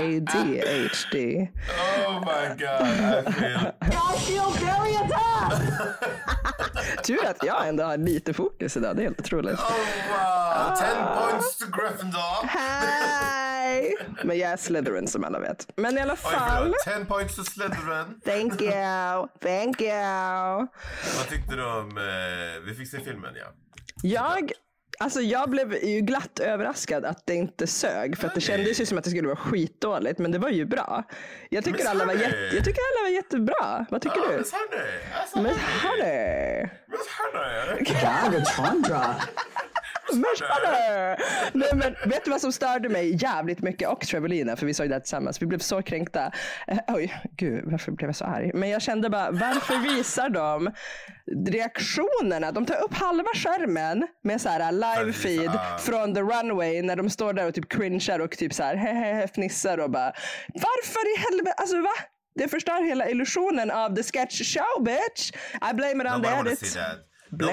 Speaker 3: eh, ADHD.
Speaker 4: Oh my god, I feel.
Speaker 1: I feel very attacked.
Speaker 3: Tur att jag ändå har lite fokus idag. Det är helt otroligt.
Speaker 4: Oh wow, 10 points to Gryffindor.
Speaker 3: Hej! Men jag är Slytherin som alla vet. Men i alla
Speaker 4: Oj,
Speaker 3: fall.
Speaker 4: förlåt. 10 points to Slytherin.
Speaker 3: Thank you, thank you.
Speaker 4: Vad tyckte du om... Eh, vi fick se filmen, ja. Ah,
Speaker 3: Jag, alltså jag blev ju glatt överraskad att det inte sög. För att det
Speaker 4: Nej.
Speaker 3: kändes ju som att det skulle vara skitdåligt. Men det var ju bra. Jag tycker,
Speaker 4: Men
Speaker 3: alla var,
Speaker 4: sorry.
Speaker 3: jätte, jag tycker alla var jättebra. Vad tycker
Speaker 4: Ah,
Speaker 3: du?
Speaker 4: Miss Honey! Alltså,
Speaker 3: Men
Speaker 4: Honey!
Speaker 3: hörru!
Speaker 4: Miss Honey!
Speaker 5: Gagatondra.
Speaker 3: Miss Butter! Nej, men vet du vad som störde mig jävligt mycket och Trevelina, för vi såg det här tillsammans. Vi blev så kränkta. Eh, oj, gud, varför blev jag så arg? Men jag kände bara, varför visar de reaktionerna? De tar upp halva skärmen med så här uh, live feed
Speaker 4: Ah.
Speaker 3: från the runway när de står där och typ cringear och typ så här hehehe fnissar och bara varför i helvete, alltså va? Det förstör hela illusionen av the sketch show bitch. I blame it on the
Speaker 4: Nobody wanna
Speaker 3: edit.
Speaker 4: see that. Nobody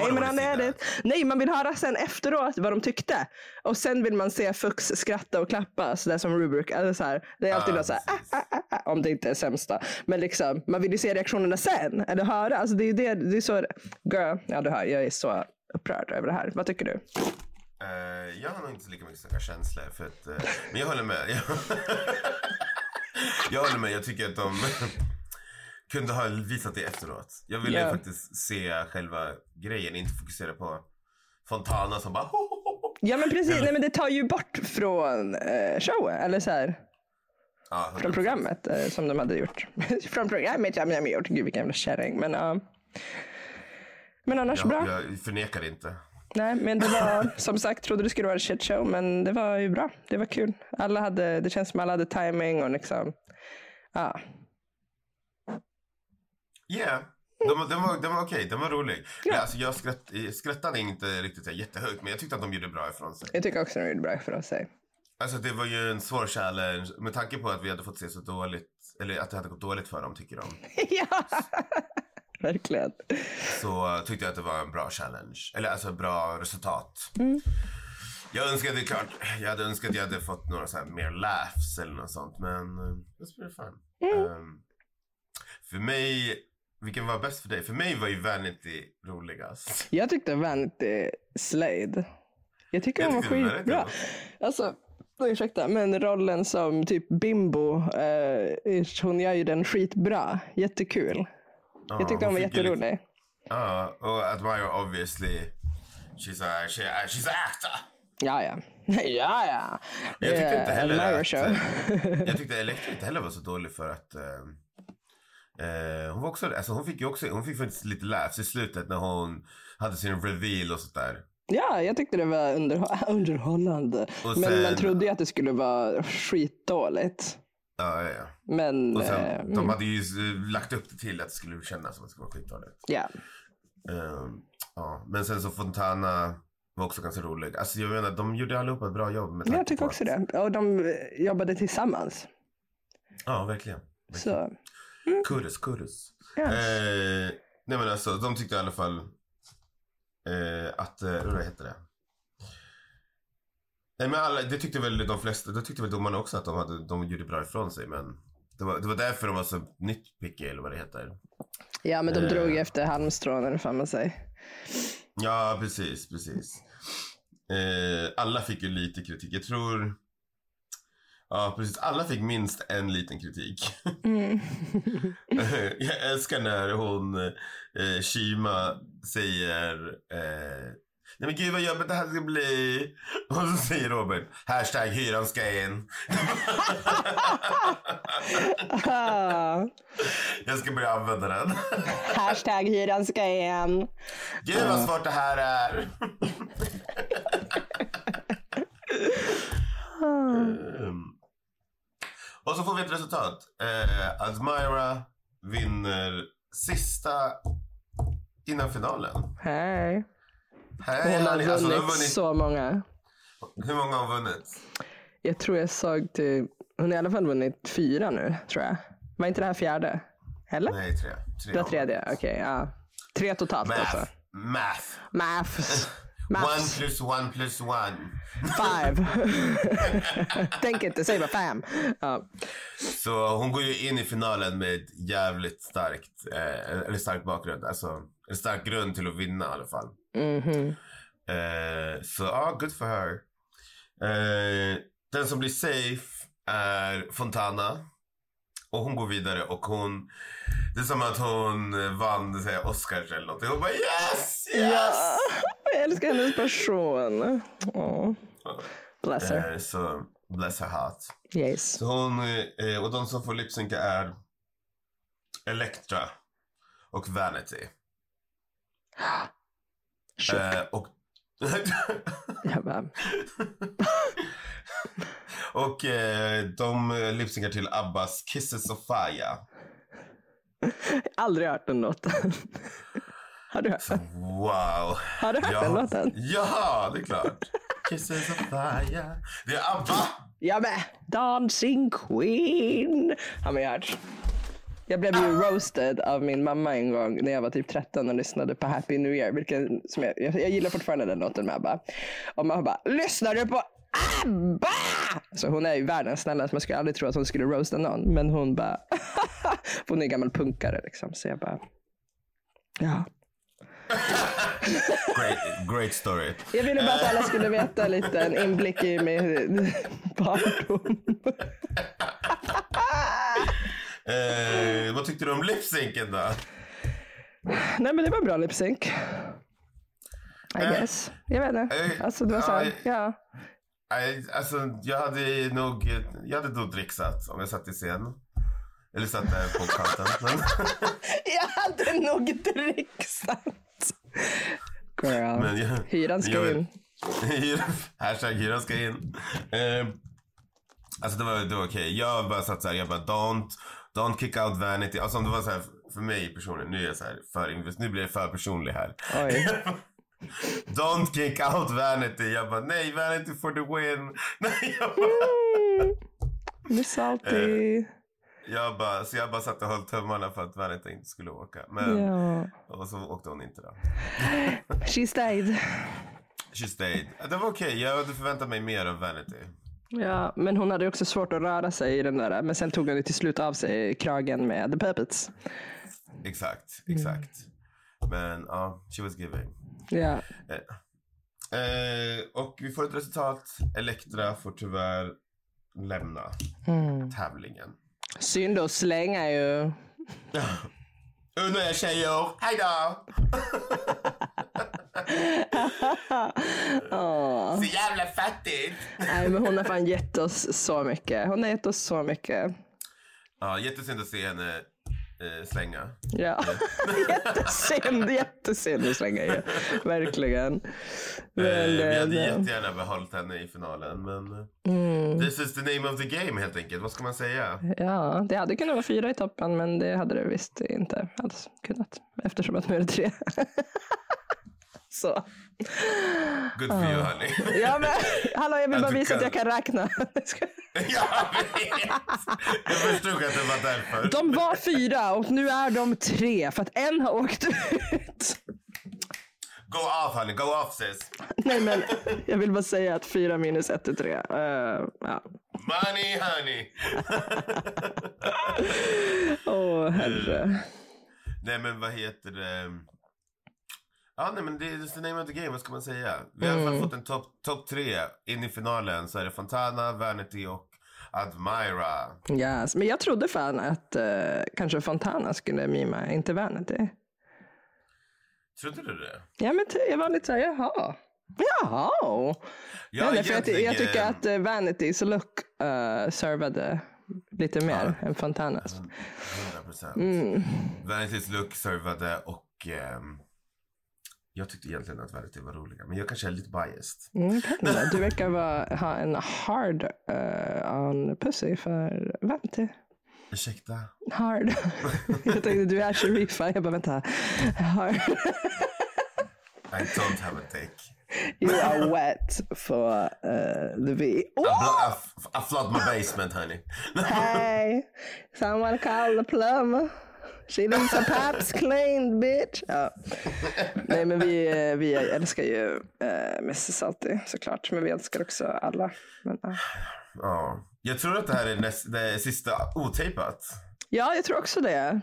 Speaker 3: Blame it
Speaker 4: wanna
Speaker 3: on
Speaker 4: see that.
Speaker 3: edit. Nej, man vill höra sen efteråt vad de tyckte. Och sen vill man se Fux skratta och klappa, sådär som Rubrik. Eller så här. Det är alltid
Speaker 4: Ah,
Speaker 3: något så här,
Speaker 4: precis.
Speaker 3: ah, ah, ah, ah, om det inte är sämsta. Men liksom, man vill ju se reaktionerna sen. Eller höra. Alltså, det är ju det, det är så, girl, ja du hör, jag är så upprörd över det här. Vad tycker du?
Speaker 4: Eh, jag har nog inte så lika mycket starka känslor. För att, eh, men jag håller med. Jag, jag håller med. Jag tycker att de kunde ha visat det efteråt. Jag ville
Speaker 3: Ja.
Speaker 4: faktiskt se själva grejen, inte fokusera på Fontana som bara... "Ho, ho, ho, ho."
Speaker 3: Ja men precis, nej men det tar ju bort från eh, showen. Eller så här,
Speaker 4: Ja,
Speaker 3: från programmet eh, som de hade gjort. från programmet, ja men jag har gjort. Gud vilken jävla kärring. Men ja. Men annars bra.
Speaker 4: jag, jag förnekar det inte.
Speaker 3: Nej, men det var som sagt, trodde det skulle vara en shit show, men det var ju bra. Det var kul. Alla hade, det känns som alla hade timing och liksom, ja.
Speaker 4: Yeah. Den var, den var, den var okej, den var rolig. Men alltså jag skratt, eh, skrattade inte riktigt så här jättehögt men jag tyckte att de gjorde bra ifrån sig.
Speaker 3: Jag tycker också de gjorde bra ifrån sig.
Speaker 4: Alltså det var ju en svår challenge med tanke på att vi hade fått se så dåligt, eller att det hade gått dåligt för dem tycker de.
Speaker 3: ja, verkligen.
Speaker 4: så tyckte jag att det var en bra challenge. Eller alltså bra resultat.
Speaker 3: Mm.
Speaker 4: Jag önskade klart, jag hade önskat att jag hade fått några så här mer laughs eller något sånt. Men eh, that's pretty fun.
Speaker 3: Mm.
Speaker 4: Ehm, för mig, vilken var bäst för dig? För mig var ju Vanity roligast.
Speaker 3: Jag tyckte Vanity Slade. Jag tycker
Speaker 4: Jag
Speaker 3: hon var
Speaker 4: tyckte den var rätt
Speaker 3: skitbra. Alltså, ursäkta, men rollen som typ Bimbo, eh, ish, hon gör ju den skitbra. Jättekul. Jag tyckte hon var
Speaker 4: fick ju liksom-
Speaker 3: jätterolig.
Speaker 4: Ja, och Admire obviously. She's a, she, she's a actor.
Speaker 3: Ja, ja. Ja, ja.
Speaker 4: Men Jag tyckte
Speaker 3: Eh,
Speaker 4: inte heller
Speaker 3: Elmira
Speaker 4: att,
Speaker 3: Show.
Speaker 4: eh, Jag tyckte Elektra inte heller var så dålig för att eh, eh, hon var också, alltså hon fick ju också, hon fick faktiskt lite laughs i slutet när hon hade sin reveal och sånt där.
Speaker 3: Ja, jag tyckte det var underhå- underhållande.
Speaker 4: Och
Speaker 3: Men man
Speaker 4: sen-
Speaker 3: trodde ju att det skulle vara skitdåligt.
Speaker 4: Ja, ja, ja.
Speaker 3: Men
Speaker 4: Och sen,
Speaker 3: eh,
Speaker 4: de hade ju eh, lagt upp det till att det skulle kännas som att det skulle vara skitdåligt.
Speaker 3: ja.
Speaker 4: Eh, ja. Men sen så Fontana var också ganska rolig. Alltså jag menar, de gjorde allihopa ett bra jobb med
Speaker 3: Men jag
Speaker 4: tanke
Speaker 3: tycker
Speaker 4: på
Speaker 3: också
Speaker 4: att-
Speaker 3: det. Och de eh, jobbade tillsammans.
Speaker 4: Ja, verkligen.
Speaker 3: Så
Speaker 4: Kurus, kurus.
Speaker 3: Yes.
Speaker 4: Eh, nej men alltså, de tyckte i alla fall eh, att, eh, vad heter det? Nej men alla, det tyckte väl de flesta, det tyckte väl domarna också att de, hade, de gjorde bra ifrån sig men det var, det var därför de var så nitpicky eller vad det heter.
Speaker 3: ja, men de
Speaker 4: Eh.
Speaker 3: drog efter halmstrån eller fan man säger.
Speaker 4: Ja, precis, precis. Eh, alla fick ju lite kritik. Jag tror, ja precis, alla fick minst en liten kritik.
Speaker 3: Mm.
Speaker 4: Jag älskar när hon, eh, Shima, säger... Eh, Nej men gud vad jobbigt det här ska bli. Och så säger Robert, hashtag hyran ska in.
Speaker 3: Ah,
Speaker 4: Jag ska börja använda den.
Speaker 3: hashtag hyran ska in.
Speaker 4: Gud vad svårt det här är. Ehm. Och så får vi ett resultat. Eh, Admira vinner sista innan finalen.
Speaker 3: Hej.
Speaker 4: Hej,
Speaker 3: Hon har
Speaker 4: hörni. Alltså, de har
Speaker 3: vunnit
Speaker 4: vunnit.
Speaker 3: så många.
Speaker 4: Hur många har vunnit?
Speaker 3: Jag tror jag såg till... Hon har i alla fall vunnit fyra nu, tror jag. Var inte det här fjärde? Eller?
Speaker 4: Nej, tre. tre
Speaker 3: Det var
Speaker 4: har
Speaker 3: tredje? Okej, ja. Tre totalt
Speaker 4: vunnit.
Speaker 3: alltså.
Speaker 4: Math. Math.
Speaker 3: Maths. Maths.
Speaker 4: One plus one plus one.
Speaker 3: Five. Tänk inte, säg bara fem. Ja.
Speaker 4: Så hon går ju in i finalen med ett jävligt starkt, eh, eller stark bakgrund. Alltså en stark grund till att vinna i alla fall.
Speaker 3: Mhm.
Speaker 4: Eh, så ja, good for her. Eh, den som blir safe är Fontana. Och hon går vidare och hon, det är som att hon vann så här, Oscars eller någonting. Hon bara yes, yes!
Speaker 3: Ah, Jag älskar hennes person. Åh. Bless her.
Speaker 4: Eh, så bless her heart.
Speaker 3: Yes.
Speaker 4: Så hon, eh, och de som får lipsynka är Elektra och Vanity.
Speaker 3: Sure.
Speaker 4: Eh, och
Speaker 3: Jag bara,
Speaker 4: och eh, de lipsynkar till Abbas Kisses of Fire.
Speaker 3: aldrig hört den låten. Har du hört,
Speaker 4: Wow.
Speaker 3: har du hört den låten?
Speaker 4: ja, det är klart. Kisses of Fire. Det är Abba.
Speaker 3: Jag med. Dancing Queen. Har man ju hört. Jag blev ju roasted av min mamma en gång när jag var typ 13 och lyssnade på Happy New Year. Vilken som jag, jag, jag gillar fortfarande den låten med ABBA. Och man bara, lyssnar du på ABBA? Så hon är ju världens snällaste. Man skulle aldrig tro att hon skulle roasta någon. Men hon bara, för hon är en gammal punkare liksom. Så jag bara, ja.
Speaker 4: Great, great story.
Speaker 3: Jag ville bara att alla skulle veta lite en inblick i min barndom.
Speaker 4: Eh, vad tyckte du om lipsynken då?
Speaker 3: Nej men det var bra lipsync. I
Speaker 4: Eh,
Speaker 3: guess. Jag vet inte.
Speaker 4: eh,
Speaker 3: Alltså det var så här,
Speaker 4: ja,
Speaker 3: ja.
Speaker 4: Nej, Alltså, jag hade nog, jag hade nog dricksat om jag satt i scen. Eller satt där på kanten. Men,
Speaker 3: Jag hade nog dricksat. Girl.
Speaker 4: men jag,
Speaker 3: Hyran ska
Speaker 4: jag vet-
Speaker 3: in.
Speaker 4: Hyran- Hashtag hyran ska in. Eh, alltså det var, det var okej. Jag bara satt så här, jag bara don't, don't kick out vanity. Alltså om det var så här för mig personligen, nu är jag så här för invest, nu blir jag för personlig här.
Speaker 3: Oj.
Speaker 4: Don't kick out vanity. Jag bara nej, vanity for the win. Nej, jag bara,
Speaker 3: Miss
Speaker 4: Eh,
Speaker 3: Alti.
Speaker 4: jag bara, så jag bara satt och höll tummarna för att vanity inte skulle åka. Men,
Speaker 3: Ja.
Speaker 4: och så åkte hon inte då.
Speaker 3: She stayed.
Speaker 4: She stayed. Det var okej, jag hade förväntat mig mer av vanity.
Speaker 3: Ja, men hon hade också svårt att röra sig i den där. Men sen tog hon ju till slut av sig kragen med The Puppets.
Speaker 4: Exakt, exakt. Men ja, she was giving.
Speaker 3: Ja.
Speaker 4: Eh, och vi får ett resultat. Elektra får tyvärr lämna tävlingen.
Speaker 3: Synd att slänga ju.
Speaker 4: Unna er tjejer, hejdå!
Speaker 3: Åh.
Speaker 4: Så jävla fattigt!
Speaker 3: Nej, men hon har fan gett oss så mycket. Hon har gett oss så mycket.
Speaker 4: Ja, jättesynd att se henne eh, slänga.
Speaker 3: Ja, jättesynd. Jättesynd att slänga ju. Verkligen.
Speaker 4: Eh,
Speaker 3: Men,
Speaker 4: vi hade
Speaker 3: eh,
Speaker 4: jättegärna behållit henne i finalen, men eh,
Speaker 3: Mm.
Speaker 4: this is the name of the game helt enkelt. Vad ska man säga?
Speaker 3: Ja, det hade kunnat vara fyra i toppen, men det hade det visst inte alls kunnat. Eftersom att nu är det tre. Så.
Speaker 4: Good for you, honey.
Speaker 3: Ja, men hallå, jag vill
Speaker 4: Att
Speaker 3: bara
Speaker 4: du
Speaker 3: visa att
Speaker 4: kan.
Speaker 3: jag kan räkna.
Speaker 4: jag vet! Jag förstod att det var därför.
Speaker 3: De var fyra och nu är de tre för att en har åkt ut.
Speaker 4: Go off, honey. Go off, sis.
Speaker 3: Nej, men jag vill bara säga att fyra minus ett är tre. Eh, ja.
Speaker 4: Money, honey.
Speaker 3: Åh, herre.
Speaker 4: Nej men vad heter det? Ja nej men det är the name of the game, vad ska man säga? Vi har i alla
Speaker 3: Mm.
Speaker 4: fall fått en topp top tre in i finalen. Så är det Fontana, Vanity och Admira.
Speaker 3: Yes. Men jag trodde fan att eh, kanske Fontana skulle mima, inte Vanity.
Speaker 4: Trodde du det?
Speaker 3: Ja, men ty- jag var lite såhär, jaha. Jaha.
Speaker 4: Ja,
Speaker 3: Nej, nej, för jag, jag
Speaker 4: egentligen,
Speaker 3: tycker
Speaker 4: eh,
Speaker 3: att eh, Vanities och Look eh, servade lite mer än Fontanas.
Speaker 4: 100 procent. Vanity's Look servade och ehm, jag tyckte egentligen att Vanity var roliga. Men jag kanske är lite biased.
Speaker 3: Mm, kan det. du verkar vara, ha en hard eh, on pussy för Vanity.
Speaker 4: Ursäkta?
Speaker 3: Hard. jag tänkte du är Sherifa. Jag bara vänta. Hard.
Speaker 4: I don't have a dick.
Speaker 3: You are wet for eh, the V.
Speaker 4: I,
Speaker 3: Oh,
Speaker 4: blo- I, f- I flood my basement honey.
Speaker 3: hey! Someone call the plumber. She needs her pipes cleaned bitch. Ja. Nej men vi, eh, vi älskar ju uh, Mrs Salty såklart. Men vi älskar också alla. Men, ja.
Speaker 4: ja. Jag tror att det här är näst, det är sista otejpat.
Speaker 3: ja jag tror också det.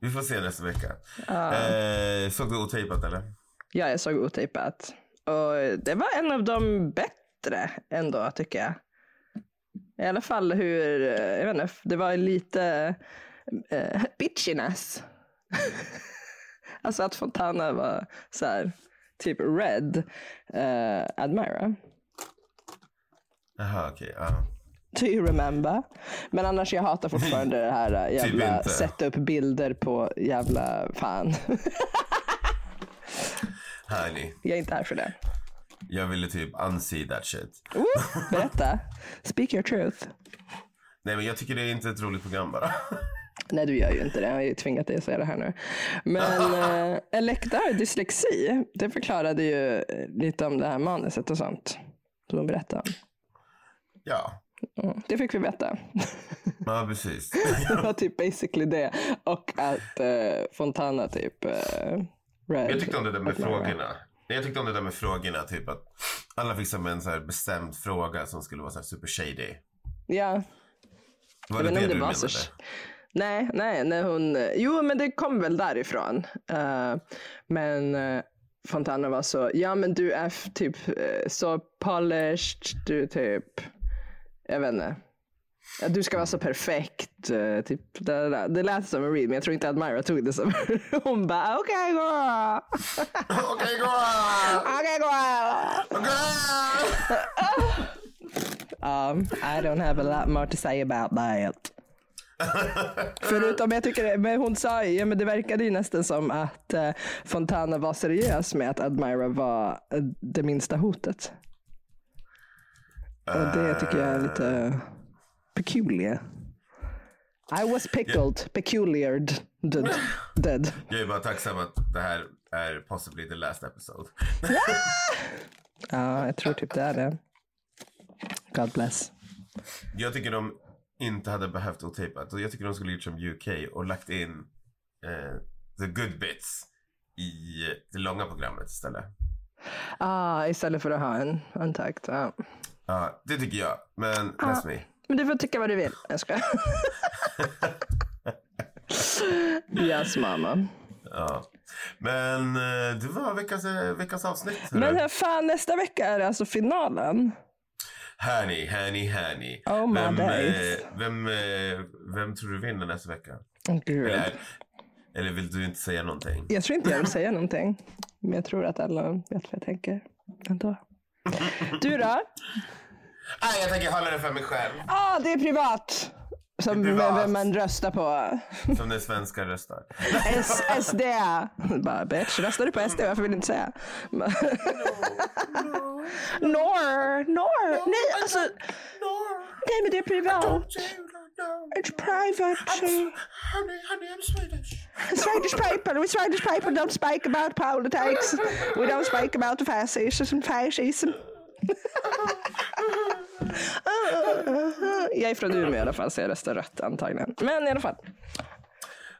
Speaker 4: Vi får se nästa vecka. Eh, såg du otejpat eller?
Speaker 3: Ja, jag såg otejpat. Och det var en av de bättre ändå, tycker jag. I alla fall hur, eh, jag vet inte, det var lite eh, bitchiness. alltså att Fontana var så här, typ red eh, Admira.
Speaker 4: Jaha okej. ja.
Speaker 3: Do you remember? Men annars, jag hatar fortfarande det här eh, jävla
Speaker 4: inte.
Speaker 3: sätta upp bilder på jävla fan.
Speaker 4: Hörni,
Speaker 3: jag är inte här för det.
Speaker 4: jag ville typ unsee that shit.
Speaker 3: Woo! Berätta. Speak your truth.
Speaker 4: Nej men jag tycker det är inte ett roligt program bara.
Speaker 3: Nej, du gör ju inte det. Jag har ju tvingat dig att säga det här nu. Men eh, Elektra har dyslexi. Det förklarade ju eh, lite om det här manuset och sånt. Som hon berättade om.
Speaker 4: ja,
Speaker 3: Mm. Det fick vi veta.
Speaker 4: ja precis.
Speaker 3: det var typ basically det. Och att eh, Fontana typ... Eh, red.
Speaker 4: Jag tyckte om det där med
Speaker 3: och Mara.
Speaker 4: frågorna. Nej, Jag tyckte om det där med frågorna, typ att alla fick som en så här bestämd fråga som skulle vara så här super shady.
Speaker 3: Ja, jag
Speaker 4: Var det
Speaker 3: vet
Speaker 4: det
Speaker 3: inte om
Speaker 4: du
Speaker 3: det var
Speaker 4: menade?
Speaker 3: så... Nej, nej, när hon... Jo, men det kom väl därifrån. Eh, men eh, Fontana var så, ja men du är f- typ eh, så polished, du typ, jag vet inte. Ja, Du ska vara så perfekt. eh, Typ, da, da, da. Det lät som en read, men jag tror inte att Myra tog det som Hon bara, okej girl.
Speaker 4: Okej, girl!
Speaker 3: Okej girl.
Speaker 4: Girl!
Speaker 3: Um, I don't have a lot more to say about that. Förutom, jag tycker, det- men hon sa ju, ja, men det verkade ju nästan som att eh, Fontana var seriös med att Admira var eh, det minsta hotet. Och det tycker jag är lite peculiar. I was pickled, peculiared, dead. dead.
Speaker 4: Jag är bara tacksam att det här är possibly the last episode.
Speaker 3: Ja, jag tror typ det är det. God bless.
Speaker 4: Jag tycker de inte hade behövt otejpat och jag tycker de skulle gjort som UK och lagt in eh, the good bits i det långa programmet istället.
Speaker 3: Ah, istället för att ha en antakt. Ja.
Speaker 4: Ja, det tycker jag, men that's me.
Speaker 3: Men du får tycka vad du vill. Jag skojar. yes mamma.
Speaker 4: Ja. Men eh, det var veckans, eh, veckans avsnitt.
Speaker 3: Men
Speaker 4: hörru.
Speaker 3: hur fan, nästa vecka är det alltså finalen.
Speaker 4: Härni, härni, härni.
Speaker 3: Oh my
Speaker 4: vem,
Speaker 3: days.
Speaker 4: eh, vem, eh, vem tror du vinner nästa vecka?
Speaker 3: Åh, Gud.
Speaker 4: Eller, eller vill du inte säga någonting?
Speaker 3: Jag tror inte jag vill säga någonting. Men jag tror att alla vet vad jag tänker. Ändå. Du då?
Speaker 4: Ah, jag tänker hålla det för mig själv.
Speaker 3: Ah, det är privat! Som
Speaker 4: Det är privat.
Speaker 3: vem man röstar på.
Speaker 4: Som den svenska röstar.
Speaker 3: S- SD! Bara bitch, röstar du på SD? Varför vill du inte säga? Nor, nor, nej alltså. Nej men det är privat. It's private.
Speaker 4: Honey, honey, I'm Swedish.
Speaker 3: Swedish people, we Swedish people don't speak about politics. We don't speak about fascism, fascism. Jag är från Umeå i alla fall, så jag röstar rött antagligen. Men i alla fall.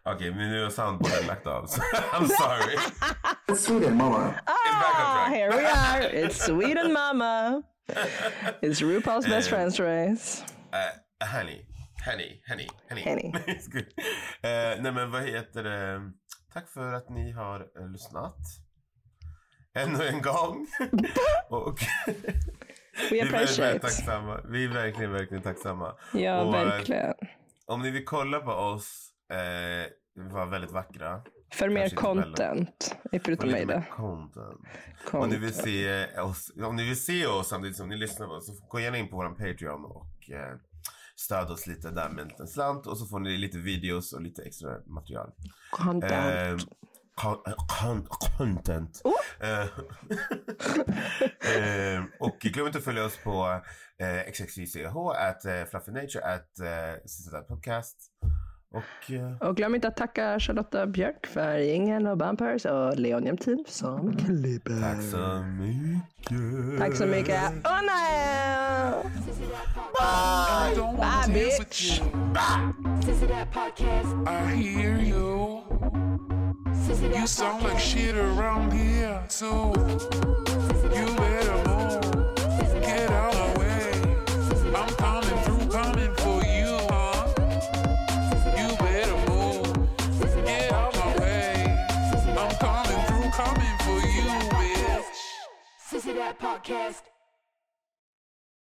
Speaker 4: Okej, men nu har soundboarden lagt av. så I'm sorry.
Speaker 5: Sweden, mama.
Speaker 4: It's back
Speaker 3: Ah,
Speaker 4: on track.
Speaker 3: here we are. It's Sweden Mama. It's RuPaul's Best Friends Race.
Speaker 4: Eh, honey, honey, honey, honey.
Speaker 3: Honey.
Speaker 4: Eh, nej men vad heter det? Tack för att ni har eh, lyssnat. Ännu en gång. Och
Speaker 3: We
Speaker 4: vi är väldigt, väldigt
Speaker 3: appreciate.
Speaker 4: tacksamma. Vi är verkligen, verkligen tacksamma.
Speaker 3: Ja,
Speaker 4: Och, eh,
Speaker 3: verkligen.
Speaker 4: Om ni vill kolla på oss, eh, vi var väldigt vackra.
Speaker 3: För mer
Speaker 4: kanske inte
Speaker 3: content Nej, förutom mig då.
Speaker 4: Content. Om ni,
Speaker 3: Content.
Speaker 4: vill se oss, om ni vill se oss samtidigt som ni lyssnar på oss, så gå gärna in på vår Patreon och eh, stöd oss lite där med en liten slant. Och så får ni lite videos och lite extra material.
Speaker 3: Content.
Speaker 4: Eh, con- con- content.
Speaker 3: Oh.
Speaker 4: Eh, eh, och glöm inte att följa oss på eh, xxjch, at eh, fluffynature, at eh, Sista podcast. Och eh,
Speaker 3: Och glöm inte att tacka Charlotta Björk för ingen och Bumpers och Leon Jämtin som
Speaker 4: tack så mycket.
Speaker 3: Eh. Tack så mycket. Och nej!
Speaker 2: I don't wanna
Speaker 3: Bye,
Speaker 2: dance with
Speaker 3: bitch.
Speaker 2: you.
Speaker 7: Sissy that podcast.
Speaker 2: I hear you.
Speaker 7: Sissy that
Speaker 2: You sound like shit around here too. You better move. Get out of the way. I'm coming through, coming for you, huh? You better move. Get out my way. I'm coming through, coming for you, bitch.
Speaker 7: Sissy that podcast.